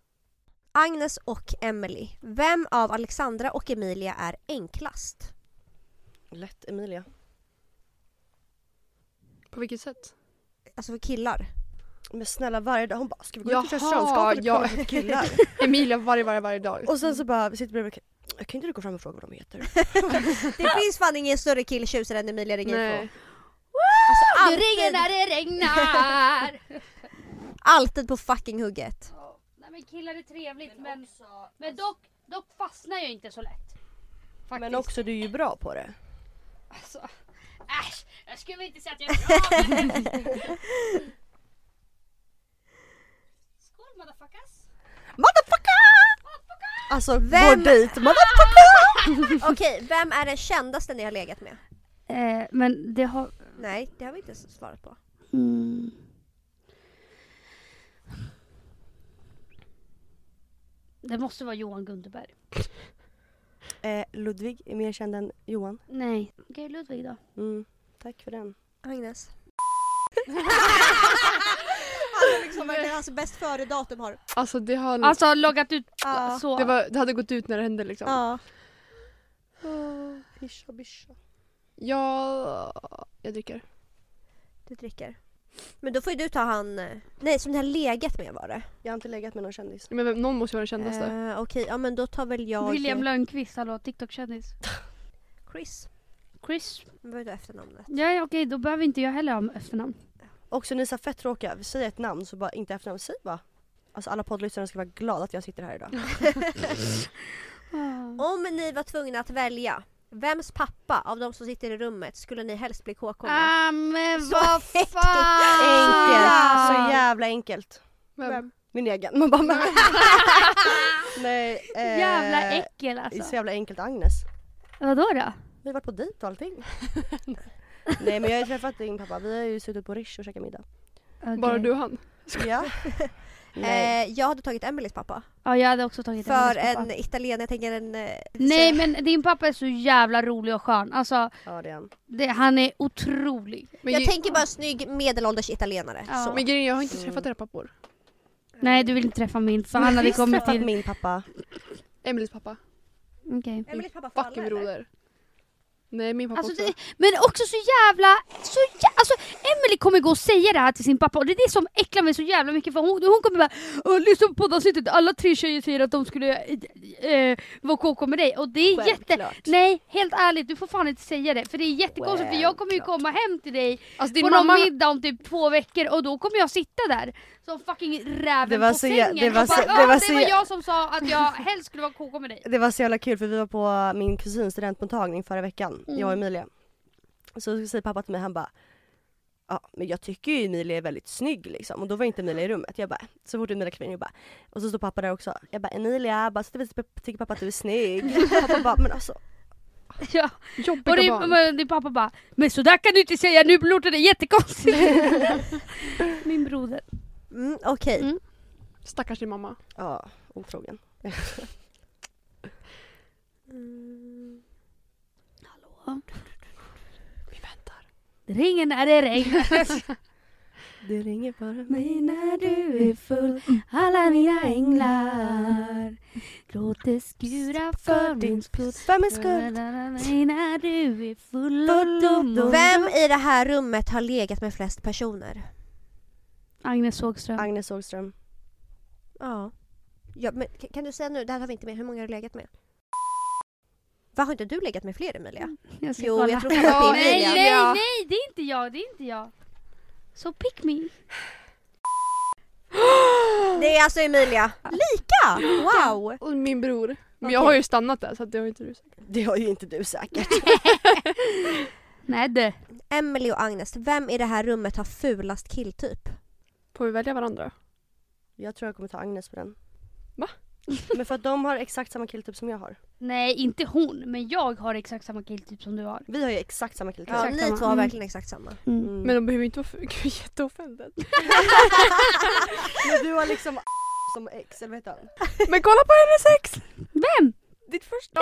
Speaker 2: Agnes och Emily. Vem av Alexandra och Emilia är enklast?
Speaker 5: Lätt Emilia.
Speaker 4: På vilket sätt?
Speaker 2: Alltså för killar.
Speaker 5: Men snälla varje dag, hon bara ska vi gå ut och köra
Speaker 4: Jaha,
Speaker 5: könsskapet och
Speaker 4: ja.
Speaker 5: kolla på killar?
Speaker 4: Emilia varje, varje, varje dag.
Speaker 5: och sen så bara vi sitter bredvid varandra, kan inte du gå fram och fråga vad de heter?
Speaker 2: Det finns fan ingen större killtjusare än Emilia Regnifo.
Speaker 4: Nej.
Speaker 2: Alltså
Speaker 1: Du ringer
Speaker 2: alltid,
Speaker 1: när det regnar!
Speaker 2: alltid på fucking hugget.
Speaker 1: Nej men killar är trevligt men, men dock, dock fastnar jag inte så lätt. Faktiskt.
Speaker 5: Men också du är ju bra på det.
Speaker 1: Alltså, äsch, jag skulle väl inte säga att jag är bra men... Skål motherfuckers!
Speaker 5: Alltså
Speaker 2: Vem-
Speaker 5: vår dejt, man
Speaker 2: Okej, vem är den kändaste ni har legat med?
Speaker 1: Eh, men det har...
Speaker 2: Nej, det har vi inte svarat på.
Speaker 1: Mm. Det måste vara Johan Gunderberg.
Speaker 5: eh, Ludvig är mer känd än Johan.
Speaker 1: Nej. Okej, Ludvig då.
Speaker 5: Mm, tack för den.
Speaker 2: Agnes. Alltså liksom verkligen hans bäst före datum har...
Speaker 4: Alltså det har...
Speaker 1: Alltså loggat ut
Speaker 2: Ja.
Speaker 1: så.
Speaker 4: det, var, det hade gått ut när det hände liksom.
Speaker 2: Ja.
Speaker 5: Hischa bischa.
Speaker 4: Ja, jag dricker.
Speaker 2: Du dricker. Men då får ju du ta han... eh, Nej som det har legat med var det.
Speaker 5: Jag har inte legat med någon kändis.
Speaker 4: Men vem- någon måste ju vara den kändaste.
Speaker 2: Eh, Okej, ja men då tar väl jag...
Speaker 1: William Lönnqvist, hallå TikTok-kändis.
Speaker 2: Chris.
Speaker 1: Chris.
Speaker 2: Vad är det efternamnet?
Speaker 1: Ja, ja, okej, då behöver inte jag heller ha efternamn.
Speaker 5: Också ni är så fett tråkiga. Säg ett namn så bara inte efternamn. Säg bara. Alltså alla poddlyssnare ska vara glada att jag sitter här idag.
Speaker 2: Om ni var tvungna att välja, vems pappa av de som sitter i rummet skulle ni helst bli KK med?
Speaker 1: Ah, men
Speaker 2: Så
Speaker 1: vad
Speaker 2: häftigt.
Speaker 1: fan!
Speaker 5: Enkelt!
Speaker 1: Ah.
Speaker 5: Så jävla enkelt.
Speaker 4: Vem?
Speaker 5: Min egen. Man bara, men. Nej. eh,
Speaker 1: Jävla äckel
Speaker 5: Det är så
Speaker 1: alltså.
Speaker 5: jävla enkelt Agnes.
Speaker 1: Vadå då?
Speaker 5: Vi har varit på dejt och allting. Nej men jag har ju träffat din pappa. Vi har ju suttit på Rish och käkat middag.
Speaker 1: Okej.
Speaker 4: Bara du och han.
Speaker 5: Ja. Nej.
Speaker 2: Eh, jag hade tagit Emelies pappa.
Speaker 1: Ja, jag hade också tagit
Speaker 2: För
Speaker 1: hennes pappa.
Speaker 2: en italienare, jag tänker en... eh,
Speaker 1: Nej
Speaker 2: så-
Speaker 1: men din pappa är så jävla rolig och skön. Alltså,
Speaker 5: Ja det är han.
Speaker 1: det, han är otrolig.
Speaker 4: Men,
Speaker 2: Jag
Speaker 4: ge-
Speaker 2: tänker bara en snygg medelålders italienare.
Speaker 1: Ja.
Speaker 2: Så.
Speaker 4: men grejen är, jag har inte
Speaker 5: Mm.
Speaker 4: träffat era pappor.
Speaker 1: Nej du vill inte träffa min för han hade
Speaker 5: Visst
Speaker 1: kommit
Speaker 5: träffat
Speaker 1: till...
Speaker 5: min pappa.
Speaker 4: Emelies pappa.
Speaker 1: Okej.
Speaker 2: Emelies pappa får
Speaker 4: Fucking
Speaker 2: alla, eller?
Speaker 4: broder. Nej min pappa
Speaker 1: Alltså,
Speaker 4: också.
Speaker 1: det, men också så jävla... Så jä, alltså, Emily kommer gå och säga det här till sin pappa och det är det som äcklar mig så jävla mycket för hon, hon kommer bara "Åh, lyssna på poddavsnittet, alla tre tjejer säger att de skulle eh, eh, vara KK med dig och det är jätte...
Speaker 5: Självklart.
Speaker 1: Nej, helt ärligt, du får fan inte säga det för det är jättekonstigt för jag kommer ju
Speaker 5: Självklart.
Speaker 1: komma hem till dig
Speaker 4: Alltså din
Speaker 1: på
Speaker 4: mamma,
Speaker 1: någon middag om typ två veckor och då kommer jag sitta där som fucking räven
Speaker 5: Det var
Speaker 1: på
Speaker 5: så jä-
Speaker 1: sängen
Speaker 5: det var
Speaker 1: och
Speaker 5: så-
Speaker 1: bara,
Speaker 5: det
Speaker 1: "Ah,
Speaker 5: var
Speaker 1: det
Speaker 5: så
Speaker 1: var
Speaker 5: jä-
Speaker 1: jag som sa att jag helst skulle vara KK med dig.
Speaker 5: Det var så jävla kul för vi var på min kusins studentmottagning förra veckan, jag och Emilia. Så säger pappa till mig, han bara Ja men jag tycker ju Emilia är väldigt snygg liksom och då var inte Emilia i rummet. Jag bara, så fort Emilia kom in jag bara Och så står pappa där också. Jag bara Emilia, bara, så tycker pappa att du är snygg? pappa bara men alltså
Speaker 1: Ja.
Speaker 4: jobbiga
Speaker 1: Och din,
Speaker 4: barn.
Speaker 1: men din pappa bara Men sådär kan du inte säga, nu låter det jättekonstigt. Min broder.
Speaker 2: Mm, Okej.
Speaker 1: Mm.
Speaker 4: Stackars din mamma.
Speaker 5: ja, otrogen.
Speaker 4: Vi väntar.
Speaker 1: Det ringer när det regnar.
Speaker 5: Det ringer bara
Speaker 1: Mig när du är full, alla mina änglar. Låt det skura för min skull.
Speaker 5: För min skull.
Speaker 1: Mig när du är full och dum. och-
Speaker 2: Vem i det här rummet har legat med flest personer?
Speaker 1: Agnes Sågström.
Speaker 5: Agnes Ågström.
Speaker 2: Ja. ja men k- kan du säga nu, det här har vi inte med, hur många har du legat med? Va, har inte du legat med fler Emilia?
Speaker 1: Jag ska
Speaker 2: Jo,
Speaker 1: kolla.
Speaker 2: jag tror fan att det är
Speaker 1: Nej,
Speaker 2: Emilia.
Speaker 1: nej,
Speaker 4: Ja.
Speaker 1: nej, det är inte jag, det är inte jag. Så pick me.
Speaker 2: Det är alltså Emilia. Lika! Wow!
Speaker 4: Och min bror. Men
Speaker 2: Okej.
Speaker 4: jag har ju stannat där så att det har ju inte du sagt.
Speaker 5: Det har ju inte du säkert.
Speaker 1: Nej du.
Speaker 2: Emily och Agnes, vem i det här rummet har fulast killtyp?
Speaker 4: Får vi välja varandra?
Speaker 5: Jag tror jag kommer ta Agnes på den.
Speaker 4: Va?
Speaker 5: Men för att de har exakt samma killtyp som jag har.
Speaker 1: Nej, inte hon, men jag har exakt samma killtyp som du har.
Speaker 5: Vi har ju exakt samma killtyp.
Speaker 2: Ja,
Speaker 1: Exakt
Speaker 2: ni
Speaker 1: samma.
Speaker 2: två har
Speaker 1: Mm.
Speaker 2: verkligen exakt samma.
Speaker 1: Mm.
Speaker 5: Mm.
Speaker 4: Men de behöver inte vara för... Gud, jätteoffended.
Speaker 5: Men du har liksom som ex, eller vad heter han?
Speaker 4: Men kolla på hennes ex!
Speaker 1: Vem?
Speaker 4: Ditt första!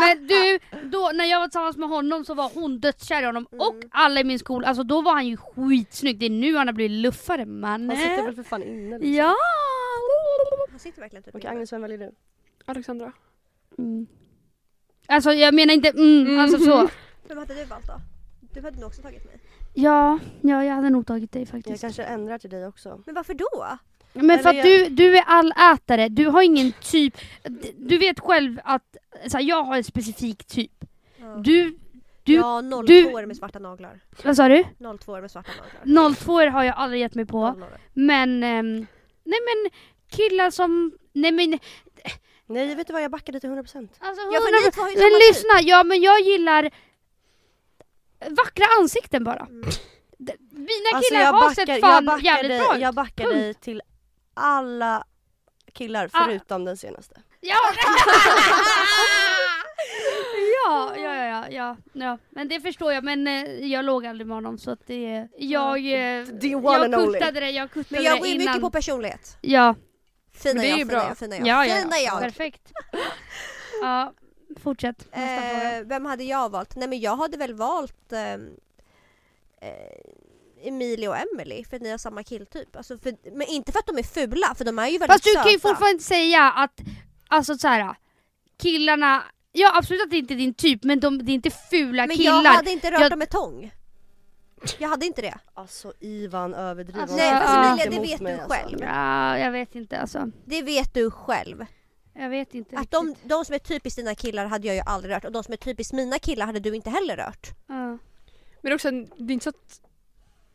Speaker 1: Men du, då, när jag var tillsammans med honom så var hon dödskär i honom och
Speaker 5: Mm.
Speaker 1: alla i min skola, alltså då var han ju skitsnygg. Det är nu han har blivit luffare
Speaker 5: Han sitter
Speaker 1: mannen.
Speaker 5: väl för fan inne liksom.
Speaker 1: Ja!
Speaker 2: Han sitter verkligen typ
Speaker 5: Okej Agnes, vem väljer du?
Speaker 4: Alexandra.
Speaker 1: Mm. Alltså jag menar inte mm,
Speaker 4: Mm.
Speaker 1: alltså så.
Speaker 2: Vem hade du valt då? Du hade nog också tagit mig.
Speaker 1: Ja, ja, jag hade nog tagit dig
Speaker 5: Jag
Speaker 1: faktiskt.
Speaker 5: kanske ändrar till dig också.
Speaker 2: Men varför då?
Speaker 1: Men för
Speaker 5: Eller
Speaker 1: att du, du är allätare, du har ingen typ, du vet själv att så här, jag har en specifik typ. Du, Du-
Speaker 2: ja, 02
Speaker 1: du-
Speaker 2: med svarta naglar.
Speaker 1: vad sa du?
Speaker 2: 02 med svarta naglar.
Speaker 1: 02 har jag aldrig gett mig på.
Speaker 2: Nollor.
Speaker 1: Men, ehm, nej men killar som, nej men
Speaker 5: Nej vet du vad, jag backade till 100%.
Speaker 1: alltså
Speaker 2: Ja för ni två har ju
Speaker 1: Men
Speaker 2: samma typ.
Speaker 1: lyssna, ja men jag gillar vackra ansikten bara. D- Mina killar har sett
Speaker 5: jag
Speaker 1: fan
Speaker 5: backar
Speaker 1: jävligt
Speaker 5: dig,
Speaker 1: bra ut.
Speaker 5: Jag backar
Speaker 1: Punkt.
Speaker 5: dig till alla killar
Speaker 1: Ah.
Speaker 5: förutom den senaste.
Speaker 1: Ja, ja, ja, ja, ja, ja, ja, men det förstår jag. Men eh, jag låg aldrig med honom så att det... Jag, eh,
Speaker 5: The one
Speaker 1: jag
Speaker 5: and only.
Speaker 1: kuttade det, jag kuttade
Speaker 2: Men jag går
Speaker 1: det
Speaker 2: ju
Speaker 1: innan.
Speaker 2: mycket på personlighet.
Speaker 1: Ja,
Speaker 2: Fina
Speaker 4: Men det är
Speaker 2: jag,
Speaker 4: ju
Speaker 2: fina
Speaker 4: bra.
Speaker 2: jag, fina jag.
Speaker 1: ja, ja,
Speaker 2: Fina
Speaker 1: ja.
Speaker 2: jag.
Speaker 1: Perfekt. Ja, fortsätt. Nästa fråga.
Speaker 2: Eh, vem hade jag valt? Nej men jag hade väl valt... ehm, eh, Emilie och Emily för att ni har samma killtyp. Alltså för, men inte för att de är fula för de är ju väldigt
Speaker 1: Fast du
Speaker 2: söta.
Speaker 1: kan ju fortfarande inte säga att, alltså så här, killarna, ja absolut att det inte är din typ men de, det är inte fula
Speaker 2: men
Speaker 1: killar.
Speaker 2: jag hade inte rört
Speaker 1: Jag-
Speaker 2: dem med tång. Jag hade inte det.
Speaker 5: Alltså Ivan överdriver.
Speaker 1: Alltså,
Speaker 5: Hon
Speaker 1: nej,
Speaker 5: är
Speaker 1: fast
Speaker 5: inte
Speaker 2: Emilia, det
Speaker 5: emot
Speaker 2: vet
Speaker 5: mig,
Speaker 2: du
Speaker 5: alltså.
Speaker 2: själv.
Speaker 1: Ja, jag vet inte alltså.
Speaker 2: Det vet du själv.
Speaker 1: Jag vet inte
Speaker 2: Att
Speaker 1: riktigt.
Speaker 2: de, de som är typiskt dina killar hade jag ju aldrig rört och de som är typiskt mina killar hade du inte heller rört.
Speaker 1: Ja.
Speaker 4: Men också, det är inte så att...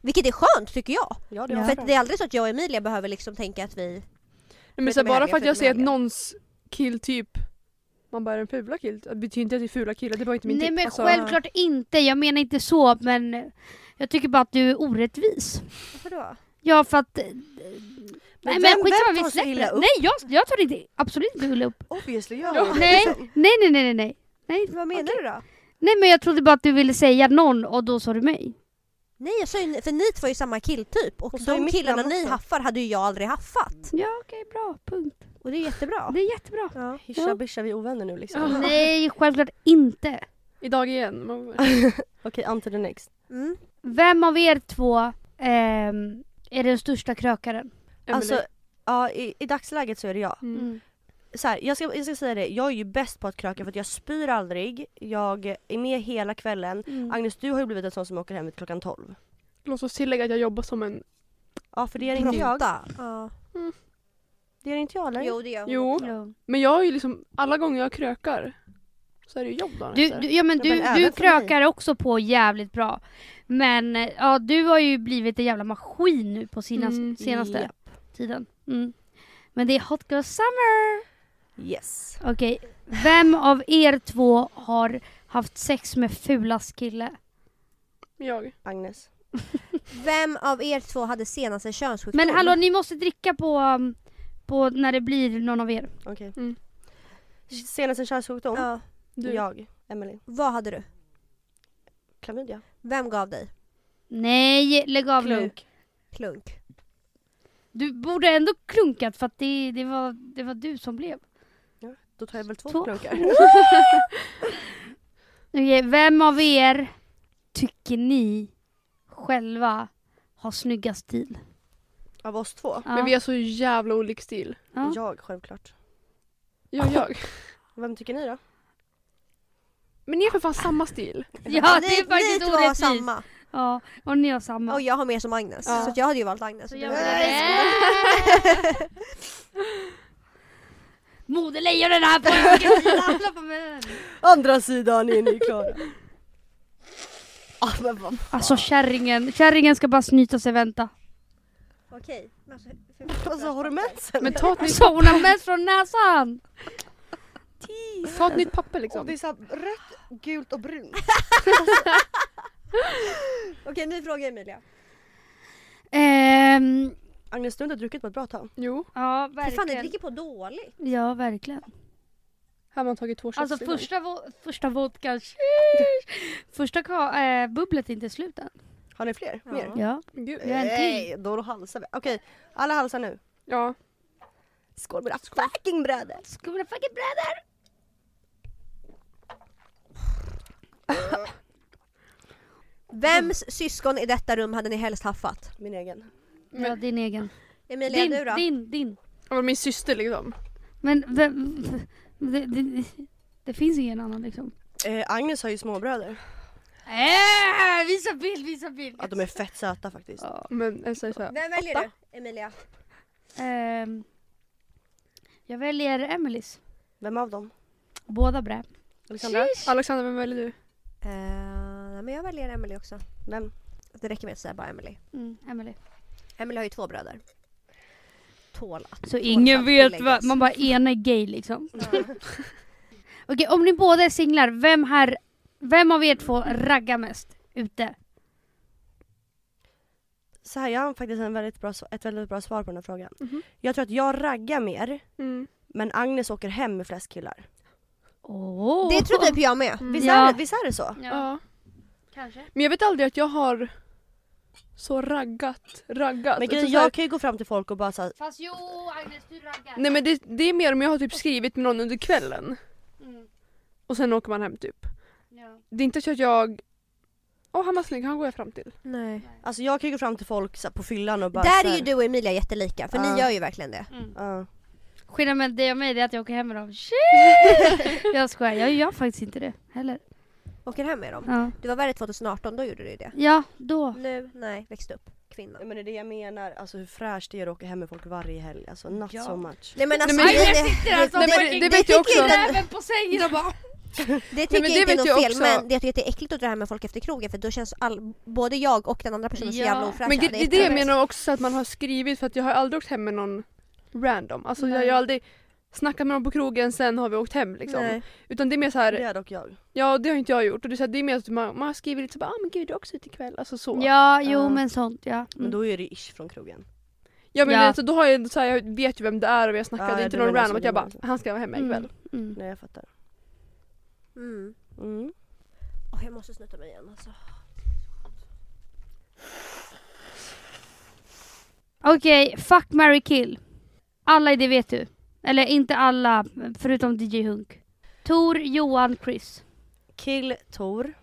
Speaker 2: Vilket är skönt tycker jag.
Speaker 5: Ja, det
Speaker 1: Ja.
Speaker 5: var
Speaker 2: För
Speaker 5: bra.
Speaker 2: att det är aldrig så att jag och Emilia behöver liksom tänka att vi...
Speaker 4: Nej, men så
Speaker 2: Förutom i
Speaker 4: här,
Speaker 2: helgen,
Speaker 4: bara för att
Speaker 2: förutom
Speaker 4: jag
Speaker 2: i
Speaker 4: ser att
Speaker 2: helgen.
Speaker 4: någons killtyp man bara är en fula kill. Det betyder inte att det är fula killar, det var inte min
Speaker 1: Nej
Speaker 4: typ.
Speaker 1: men
Speaker 4: Alltså,
Speaker 1: självklart inte, jag menar inte så men jag tycker bara att du är orättvis.
Speaker 2: Varför då?
Speaker 1: Ja för att... nej men
Speaker 5: vem-
Speaker 1: skitsamma
Speaker 5: vem tar
Speaker 1: vi
Speaker 5: så
Speaker 1: släpper
Speaker 5: illa
Speaker 1: det.
Speaker 5: upp?
Speaker 1: Nej jag, jag tar inte, absolut inte illa upp.
Speaker 5: Obviously
Speaker 4: Ja.
Speaker 5: gör hon det.
Speaker 1: Nej. Nej nej nej nej nej. Nej,
Speaker 2: Vad menar du då?
Speaker 1: nej men jag trodde bara att du ville säga någon och då sa du mig.
Speaker 2: Nej jag sa ju, för ni två är ju samma killtyp och,
Speaker 5: Och så är
Speaker 2: de
Speaker 5: mitt
Speaker 2: killarna
Speaker 5: namn
Speaker 2: ni
Speaker 5: också.
Speaker 2: haffar hade ju jag aldrig haffat.
Speaker 1: Ja okej bra, punkt.
Speaker 2: Och det är jättebra.
Speaker 1: Det är jättebra.
Speaker 2: Ja.
Speaker 5: Hischa bischa, vi är ovänner nu liksom.
Speaker 4: Ja.
Speaker 1: Nej självklart inte.
Speaker 4: Idag igen. Man,
Speaker 5: Okej, on to the next.
Speaker 2: Mm.
Speaker 1: Vem av er två ehm, är den största krökaren?
Speaker 5: Alltså, ja, i, i dagsläget så är det jag.
Speaker 4: Mm.
Speaker 5: Så här, jag, ska, jag ska säga det, jag är ju bäst på att kröka för att jag spyr aldrig. Jag är med hela kvällen. Agnes, du har ju blivit en sån som åker hem vid klockan 12.
Speaker 4: Låt oss tillägga att jag jobbar som en...
Speaker 5: Ja, för det är inte jag.
Speaker 2: Pronta. Ja.
Speaker 5: Det är inte jag eller?
Speaker 2: Jo det gör hon.
Speaker 4: Jo,
Speaker 5: alltså,
Speaker 1: Jo.
Speaker 4: men jag är ju liksom... Alla gånger jag krökar så är det ju jobb dagen
Speaker 1: Du,
Speaker 4: efter.
Speaker 1: du, ja, men
Speaker 5: Ja,
Speaker 1: du,
Speaker 5: men även
Speaker 1: du
Speaker 5: för mig.
Speaker 1: krökar också på jävligt bra. Men eh, ja, du har ju blivit en jävla maskin nu på sina,
Speaker 4: Mm,
Speaker 1: senaste
Speaker 5: japp.
Speaker 1: tiden. Mm. Men det är hot girl summer!
Speaker 5: Yes.
Speaker 1: Okej, vem av er två har haft sex med fulast kille?
Speaker 4: Jag.
Speaker 5: Agnes.
Speaker 2: Vem av er två hade senast en könssjukdom?
Speaker 1: Men hallå, ni måste dricka på, um, på när det blir någon av er.
Speaker 5: Okej.
Speaker 4: Mm.
Speaker 5: Senast en könssjukdom?
Speaker 2: ja.
Speaker 4: Du.
Speaker 5: Jag. Emily.
Speaker 2: Vad hade du?
Speaker 5: Klamydia.
Speaker 2: Vem gav dig?
Speaker 1: Nej, lägg av nu.
Speaker 5: Klunk.
Speaker 2: Klunk.
Speaker 1: Du borde ändå klunkat för att det, det, var, det var du som blev.
Speaker 5: Då tar jag väl två,
Speaker 1: Två.
Speaker 5: klunkar.
Speaker 1: Okej, vem av er tycker ni själva har snyggast stil?
Speaker 5: Av oss två?
Speaker 1: Ja.
Speaker 4: Men vi har så jävla olik stil.
Speaker 1: Ja.
Speaker 5: Jag självklart.
Speaker 4: Jag, jag.
Speaker 5: Vem tycker ni då?
Speaker 4: Men ni är för fan samma stil.
Speaker 1: ja, det
Speaker 2: Ni-
Speaker 1: är faktiskt
Speaker 2: ni två har
Speaker 1: orättvist.
Speaker 2: samma.
Speaker 1: Ja, och ni har samma. Eh.
Speaker 2: Och jag har mer som Agnes.
Speaker 4: Ja.
Speaker 2: Så att jag hade ju valt Agnes.
Speaker 1: Så
Speaker 2: Du
Speaker 1: jag
Speaker 2: hade-
Speaker 1: bara, "Äh." Modelejonen här på höger sida. Slå på mig den.
Speaker 5: Andra sidan är ni klara. ah, men vad
Speaker 1: Alltså kärringen, kärringen ska bara snyta sig vänta. Äh?
Speaker 2: Okej. Men alltså, för-
Speaker 5: Alltså har du mens
Speaker 4: Men ta ett nytt,
Speaker 1: Alltså hon har mens från näsan!
Speaker 4: ta ett nytt papper liksom.
Speaker 5: är såhär rött, gult och brunt.
Speaker 2: Okej, ny fråga Emilia.
Speaker 1: Ehm,
Speaker 5: Agnes du har inte druckit på ett bra tag.
Speaker 4: Jo,
Speaker 1: ja
Speaker 2: För fan, ni
Speaker 1: verkligen.
Speaker 2: dricker på dåligt.
Speaker 1: Ja verkligen.
Speaker 4: här har man tagit två shots
Speaker 1: Alltså
Speaker 4: innan.
Speaker 1: första, vo- första vodkan, sheesh. första ka- eh, bubblet är inte slut än.
Speaker 5: Har ni fler?
Speaker 2: Ja.
Speaker 5: Mer?
Speaker 1: Ja.
Speaker 4: Men Gud.
Speaker 1: Jag har en till.
Speaker 5: Nej, då halsar vi. Okej, alla halsar nu.
Speaker 4: Ja.
Speaker 5: Skål mina fucking bröder!
Speaker 1: Skumla fucking bröder!
Speaker 2: Vems syskon i detta rum hade ni helst haffat?
Speaker 5: Min egen.
Speaker 1: Ja, din egen.
Speaker 2: Emilia,
Speaker 1: Din,
Speaker 2: du då?
Speaker 1: din, din.
Speaker 4: Alltså, min syster liksom.
Speaker 1: Men vem, det, det, det finns ingen annan liksom.
Speaker 5: Eh, Agnes har ju småbröder.
Speaker 1: Äh, visa bild, visa bild!
Speaker 5: Ja, de är fett söta faktiskt.
Speaker 4: Men jag säger så här.
Speaker 2: Vem väljer du? Emilia.
Speaker 1: Ehm, jag väljer Emelies.
Speaker 5: Vem av dem?
Speaker 1: Båda brä.
Speaker 5: Alexandra?
Speaker 4: Alexandra, vem väljer du?
Speaker 2: Eh, men jag väljer Emily också.
Speaker 5: Vem?
Speaker 2: Det räcker med att säga bara Emily.
Speaker 1: Mm, Emily.
Speaker 2: Emily har ju två bröder. Tål att
Speaker 1: Så
Speaker 2: tål
Speaker 1: ingen
Speaker 2: att
Speaker 1: vet
Speaker 2: tilläggas.
Speaker 1: vad, man bara ena är gay liksom. Okej, om ni båda är singlar, vem här, vem av er två raggar mest ute?
Speaker 5: Så här, jag har faktiskt en väldigt bra, s- ett väldigt bra svar på den här frågan.
Speaker 4: Mhm.
Speaker 5: Jag tror att jag raggar mer,
Speaker 4: Mm.
Speaker 5: men Agnes åker hem med flest killar.
Speaker 1: Åh.
Speaker 2: Det tror typ jag med.
Speaker 5: Visst,
Speaker 1: Ja.
Speaker 5: är, det, visst är det så?
Speaker 1: Ja,
Speaker 4: Ja.
Speaker 1: kanske.
Speaker 4: Men jag vet aldrig att jag har så raggat, raggat.
Speaker 5: Men
Speaker 4: Utan
Speaker 5: grejen,
Speaker 4: så här-
Speaker 5: jag kan ju gå fram till folk och bara såhär,
Speaker 1: Fast jo, Agnes du raggar.
Speaker 4: Nej men det, det är mer om jag har typ skrivit med någon under kvällen
Speaker 1: Mm,
Speaker 4: och sen åker man hem typ.
Speaker 1: ja.
Speaker 4: Det är inte så att jag, ja Åh han var snygg, han går jag fram till.
Speaker 2: Nej.
Speaker 5: Alltså jag kan ju gå fram till folk så här, på fyllan och bara
Speaker 2: Där
Speaker 5: så
Speaker 2: är
Speaker 5: här,
Speaker 2: ju du och Emilia jättelika för
Speaker 5: Ja.
Speaker 2: ni gör ju verkligen det.
Speaker 5: Ja.
Speaker 1: Mm. Skillnaden mellan dig och mig är att jag åker hem med dem. Shit! jag skojar, jag gör faktiskt inte det heller.
Speaker 2: Åker hem med dem.
Speaker 1: Ja,
Speaker 2: Det var värre 2018, då gjorde du ju det.
Speaker 1: ja då.
Speaker 2: Nu, nej, växt upp. Kvinna.
Speaker 5: Ja, Men det är det jag menar, alltså hur fräscht det är att åka hem med folk varje helg. Alltså not
Speaker 1: Ja.
Speaker 5: so much.
Speaker 2: Nej men alltså,
Speaker 4: men
Speaker 2: det,
Speaker 4: jag
Speaker 2: det,
Speaker 1: här som
Speaker 4: Nej, men
Speaker 1: alltså en
Speaker 4: det,
Speaker 1: äcklig
Speaker 4: vet jag också.
Speaker 2: äcklig
Speaker 4: Nej,
Speaker 2: där.
Speaker 1: Även på sängen och bara...
Speaker 2: det tycker
Speaker 4: men
Speaker 2: jag inte
Speaker 4: det
Speaker 2: är
Speaker 4: vet
Speaker 2: något
Speaker 4: jag
Speaker 2: fel
Speaker 4: också.
Speaker 2: men jag tycker att det är äckligt att dra hem med folk efter krogen för då känns all, både jag och den andra personen så
Speaker 1: Ja.
Speaker 2: jävla ofräscha.
Speaker 4: Men det, det är det jag
Speaker 2: äckligt.
Speaker 4: menar också att man har skrivit för att jag har aldrig åkt hem med någon random. Alltså jag,
Speaker 1: Nej.
Speaker 4: jag har aldrig snackat med någon på krogen sen har vi åkt hem liksom.
Speaker 2: Nej.
Speaker 4: Utan det är mer så här,
Speaker 5: Det är dock jag.
Speaker 4: ja det har inte jag gjort. Och det är, så här, det är mer att man, man har skrivit lite så bara, ah, men gud du är också ute ikväll. Alltså så.
Speaker 1: Ja, jo
Speaker 5: Ja.
Speaker 1: men sånt ja.
Speaker 5: Men
Speaker 1: Mm.
Speaker 5: då är det ish från krogen.
Speaker 2: Mm.
Speaker 4: Ja men
Speaker 1: Ja.
Speaker 4: alltså, då har jag, ändå så här, jag vet ju vem det är och vi har snackat,
Speaker 5: Ja,
Speaker 4: det är
Speaker 5: ja,
Speaker 4: inte
Speaker 5: du
Speaker 4: någon
Speaker 5: menar
Speaker 4: random
Speaker 5: så,
Speaker 4: att jag
Speaker 5: du
Speaker 4: bara,
Speaker 5: menar så.
Speaker 4: han ska vara hemma ikväll.
Speaker 1: Mm. Mm.
Speaker 5: Nej jag fattar.
Speaker 2: Mm.
Speaker 5: Mm.
Speaker 2: Åh, jag måste snuta mig igen alltså.
Speaker 1: Okej, fuck, marry, kill. Alla i det vet du. Eller inte alla, förutom DJ Hunk. Tor, Johan, Chris.
Speaker 5: Kill Tor.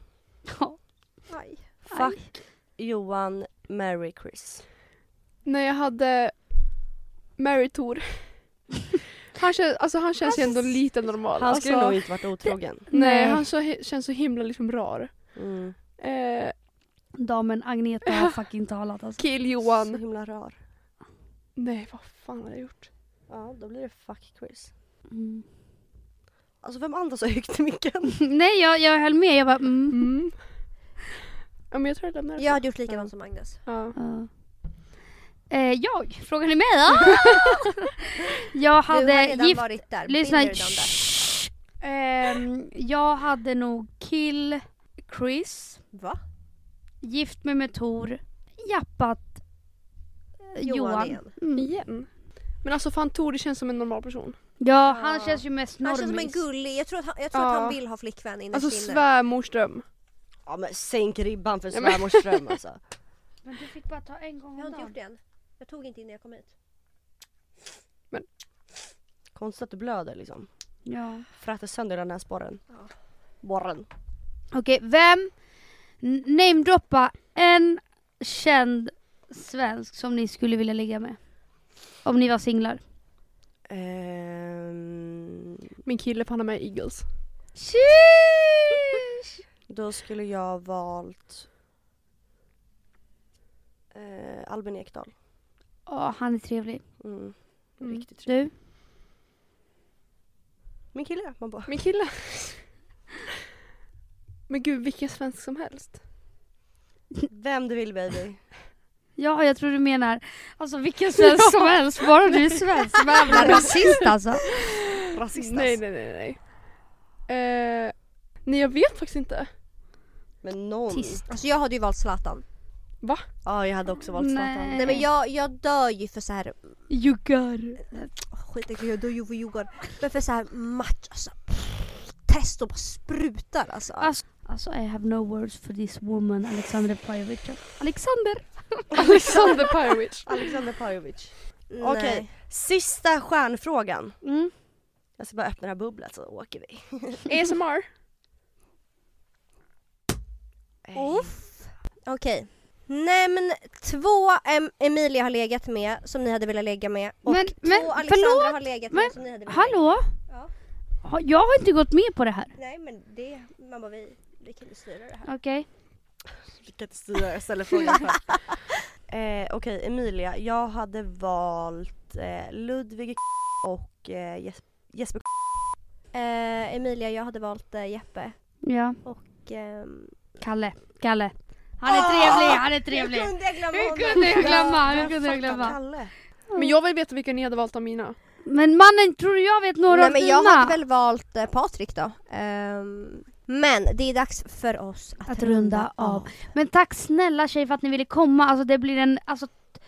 Speaker 1: Ja,
Speaker 2: Aj.
Speaker 5: Fuck Johan. Mary Chris.
Speaker 4: När jag hade Mary Tor. han, känns, alltså, han känns ju ändå lite normal.
Speaker 5: Han skulle
Speaker 4: alltså,
Speaker 5: nog inte varit otrogen.
Speaker 4: Nej
Speaker 1: Nej.
Speaker 4: han så, känns så himla liksom rar.
Speaker 5: Mm.
Speaker 4: Eh,
Speaker 1: Damen Agneta har fucking talat alltså.
Speaker 4: kill
Speaker 5: Så
Speaker 4: Johan.
Speaker 5: himla rar.
Speaker 4: Nej vad fan har jag gjort?
Speaker 5: Ja då blir det fuck Chris.
Speaker 1: Mm.
Speaker 5: Alltså vem andas så högt i micken?
Speaker 1: Nej, jag, jag höll med. Jag bara mm.
Speaker 4: Mm. Ja men jag tror jag lämnar det.
Speaker 2: Jag hade gjort likadant som Agnes.
Speaker 4: Ja.
Speaker 1: Ja. Eh, jag? Frågar ni mig? Ah! jag
Speaker 2: du har
Speaker 1: hade
Speaker 2: redan
Speaker 1: gift...
Speaker 2: varit där.
Speaker 1: Lyssna.
Speaker 2: Binder redan där.
Speaker 1: Shh. Ehm, jag hade nog kill Chris.
Speaker 2: Va?
Speaker 1: Gift mig med Tor. Jappat eh,
Speaker 2: Johan
Speaker 1: Johan.
Speaker 2: igen.
Speaker 1: Mm.
Speaker 4: Igen. Men alltså fan Tor det känns som en normal person.
Speaker 1: Ja, han
Speaker 2: Ja.
Speaker 1: känns ju mest
Speaker 2: Han
Speaker 1: normis.
Speaker 2: känns som en gullig. Jag tror att han, jag tror att
Speaker 4: Ja.
Speaker 2: han vill ha flickvän inne
Speaker 4: Alltså
Speaker 2: i
Speaker 4: svärmorsdröm.
Speaker 5: Ja men sänk ribban för
Speaker 4: Ja, men-
Speaker 5: svärmors dröm alltså.
Speaker 1: Men du fick bara ta en
Speaker 2: Jag
Speaker 1: gång
Speaker 2: har
Speaker 1: om
Speaker 2: inte gjort
Speaker 1: dagen.
Speaker 2: det än. Jag tog inte innan jag kom hit.
Speaker 5: Konstigt att du blöder liksom.
Speaker 1: Ja.
Speaker 5: Fräter sönder hela näsborren.
Speaker 2: Ja.
Speaker 5: Borren.
Speaker 1: Okej, vem? N- Namedroppa en känd svensk som ni skulle vilja ligga med. Om ni var singlar.
Speaker 5: Ehm,
Speaker 4: Min kille får han är med i Eagles.
Speaker 1: Sheesh!
Speaker 5: då skulle jag valt eh, Albin Ekdal.
Speaker 1: Ja, han är trevlig.
Speaker 5: Mm.
Speaker 4: Mm.
Speaker 5: Riktigt trevlig.
Speaker 1: Du?
Speaker 5: Min kille, man bara.
Speaker 4: Min kille. Men gud vilken svensk som helst.
Speaker 5: Vem du vill baby.
Speaker 1: Ja, jag tror du menar alltså vilken svensk som helst, bara du är svensk. Men jävla rasist alltså.
Speaker 5: Rasist
Speaker 4: Nej
Speaker 5: alltså.
Speaker 4: nej nej nej. Eh, nej jag vet faktiskt inte.
Speaker 5: Men någon.
Speaker 1: Tyst.
Speaker 2: Alltså jag hade ju valt Zlatan.
Speaker 5: Ja jag hade också valt
Speaker 1: Nej.
Speaker 5: Zlatan.
Speaker 2: Nej men jag, jag dör ju för så här
Speaker 1: Juggar.
Speaker 2: Åh, Skit i jag dör ju för Djurgården. Men för så här match alltså. pff, Test och bara sprutar alltså.
Speaker 1: Alltså, alltså I have no words for this woman, Alexander Pajovicen. Alexander!
Speaker 4: Alexander Pyrewitch.
Speaker 5: Alexander Pajovic.
Speaker 2: Nej.
Speaker 5: Okej, sista stjärnfrågan.
Speaker 1: Mm.
Speaker 5: Jag ska bara öppna det här bubblet så åker vi.
Speaker 4: ASMR.
Speaker 2: Uff. Okej. Nämn två em- Emilia har legat med som ni hade velat lägga med och
Speaker 1: Men-
Speaker 2: två
Speaker 1: men,
Speaker 2: Alexandra
Speaker 1: förlåt,
Speaker 2: har legat
Speaker 1: men,
Speaker 2: med som ni hade velat lägga
Speaker 1: Hallå?
Speaker 2: Ja.
Speaker 1: Ha- Jag har inte gått med på det här.
Speaker 2: med. Nej men det, man bara vi, vi kan ju styra det här.
Speaker 1: Okej.
Speaker 5: Vi kan inte styra, jag ställer frågan själv. eh, Okej Emilia, jag hade valt eh, Ludvig och eh, Jes- Jesper
Speaker 2: Eh, Emilia, jag hade valt eh, Jeppe
Speaker 1: Ja.
Speaker 2: och... ehm,
Speaker 1: Kalle. Kalle. Han är trevlig, han är trevlig.
Speaker 2: Hur kunde jag glömma
Speaker 1: Hur kunde jag glömma? Hur
Speaker 2: honom?
Speaker 5: Ja,
Speaker 1: kunde jag
Speaker 5: fucking
Speaker 1: glömma?
Speaker 5: Kalle.
Speaker 4: Men jag vill veta vilka ni hade valt av mina.
Speaker 1: Men mannen, tror du jag vet några
Speaker 2: Nej
Speaker 1: av
Speaker 2: men
Speaker 1: dina?
Speaker 2: jag hade väl valt eh, Patrik då. Ehm, men det är dags för oss att,
Speaker 1: Att runda av. Men tack snälla tjej för att ni ville komma. Alltså det blir en alltså, t-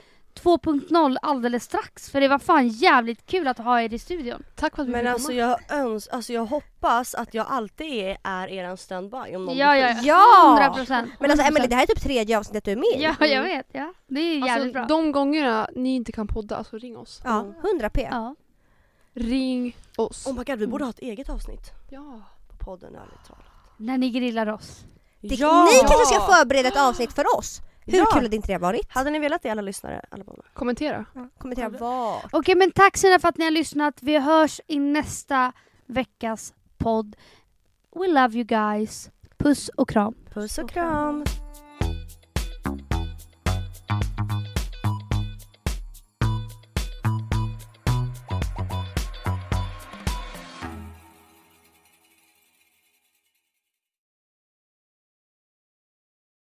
Speaker 1: 2.0 alldeles strax. För det var fan jävligt kul att ha er i studion.
Speaker 4: Tack för att vi
Speaker 5: Men
Speaker 4: fick
Speaker 5: alltså
Speaker 4: komma.
Speaker 5: jag, öns alltså jag hoppas att jag alltid är, är eran standby om någon
Speaker 1: Ja,
Speaker 5: blir
Speaker 1: ja,
Speaker 5: sjuk.
Speaker 2: Ja!
Speaker 1: 100 procent.
Speaker 2: Men alltså Emelie det här är typ tredje avsnittet du är med i.
Speaker 1: Ja, jag vet. Ja. Det är jävligt
Speaker 4: Alltså,
Speaker 1: bra.
Speaker 4: de gångerna ni inte kan podda, alltså ring oss.
Speaker 2: Ja, 100 p.
Speaker 1: Ja.
Speaker 4: Ring oss.
Speaker 5: Oh my god vi borde ha ett eget avsnitt
Speaker 4: Ja.
Speaker 5: på podden ärligt talat.
Speaker 1: När ni grillar oss.
Speaker 2: Det,
Speaker 5: Ja!
Speaker 2: Ni kanske ska förbereda ett avsnitt för oss. Hur
Speaker 5: Ja.
Speaker 2: kul hade inte det varit?
Speaker 5: Hade ni velat det alla lyssnare? Alla barn?
Speaker 4: Kommentera.
Speaker 2: Kommentera vad.
Speaker 1: Okej, men tack snälla för att ni har lyssnat. Vi hörs i nästa veckas podd. We love you guys. Puss och kram.
Speaker 5: Puss och kram!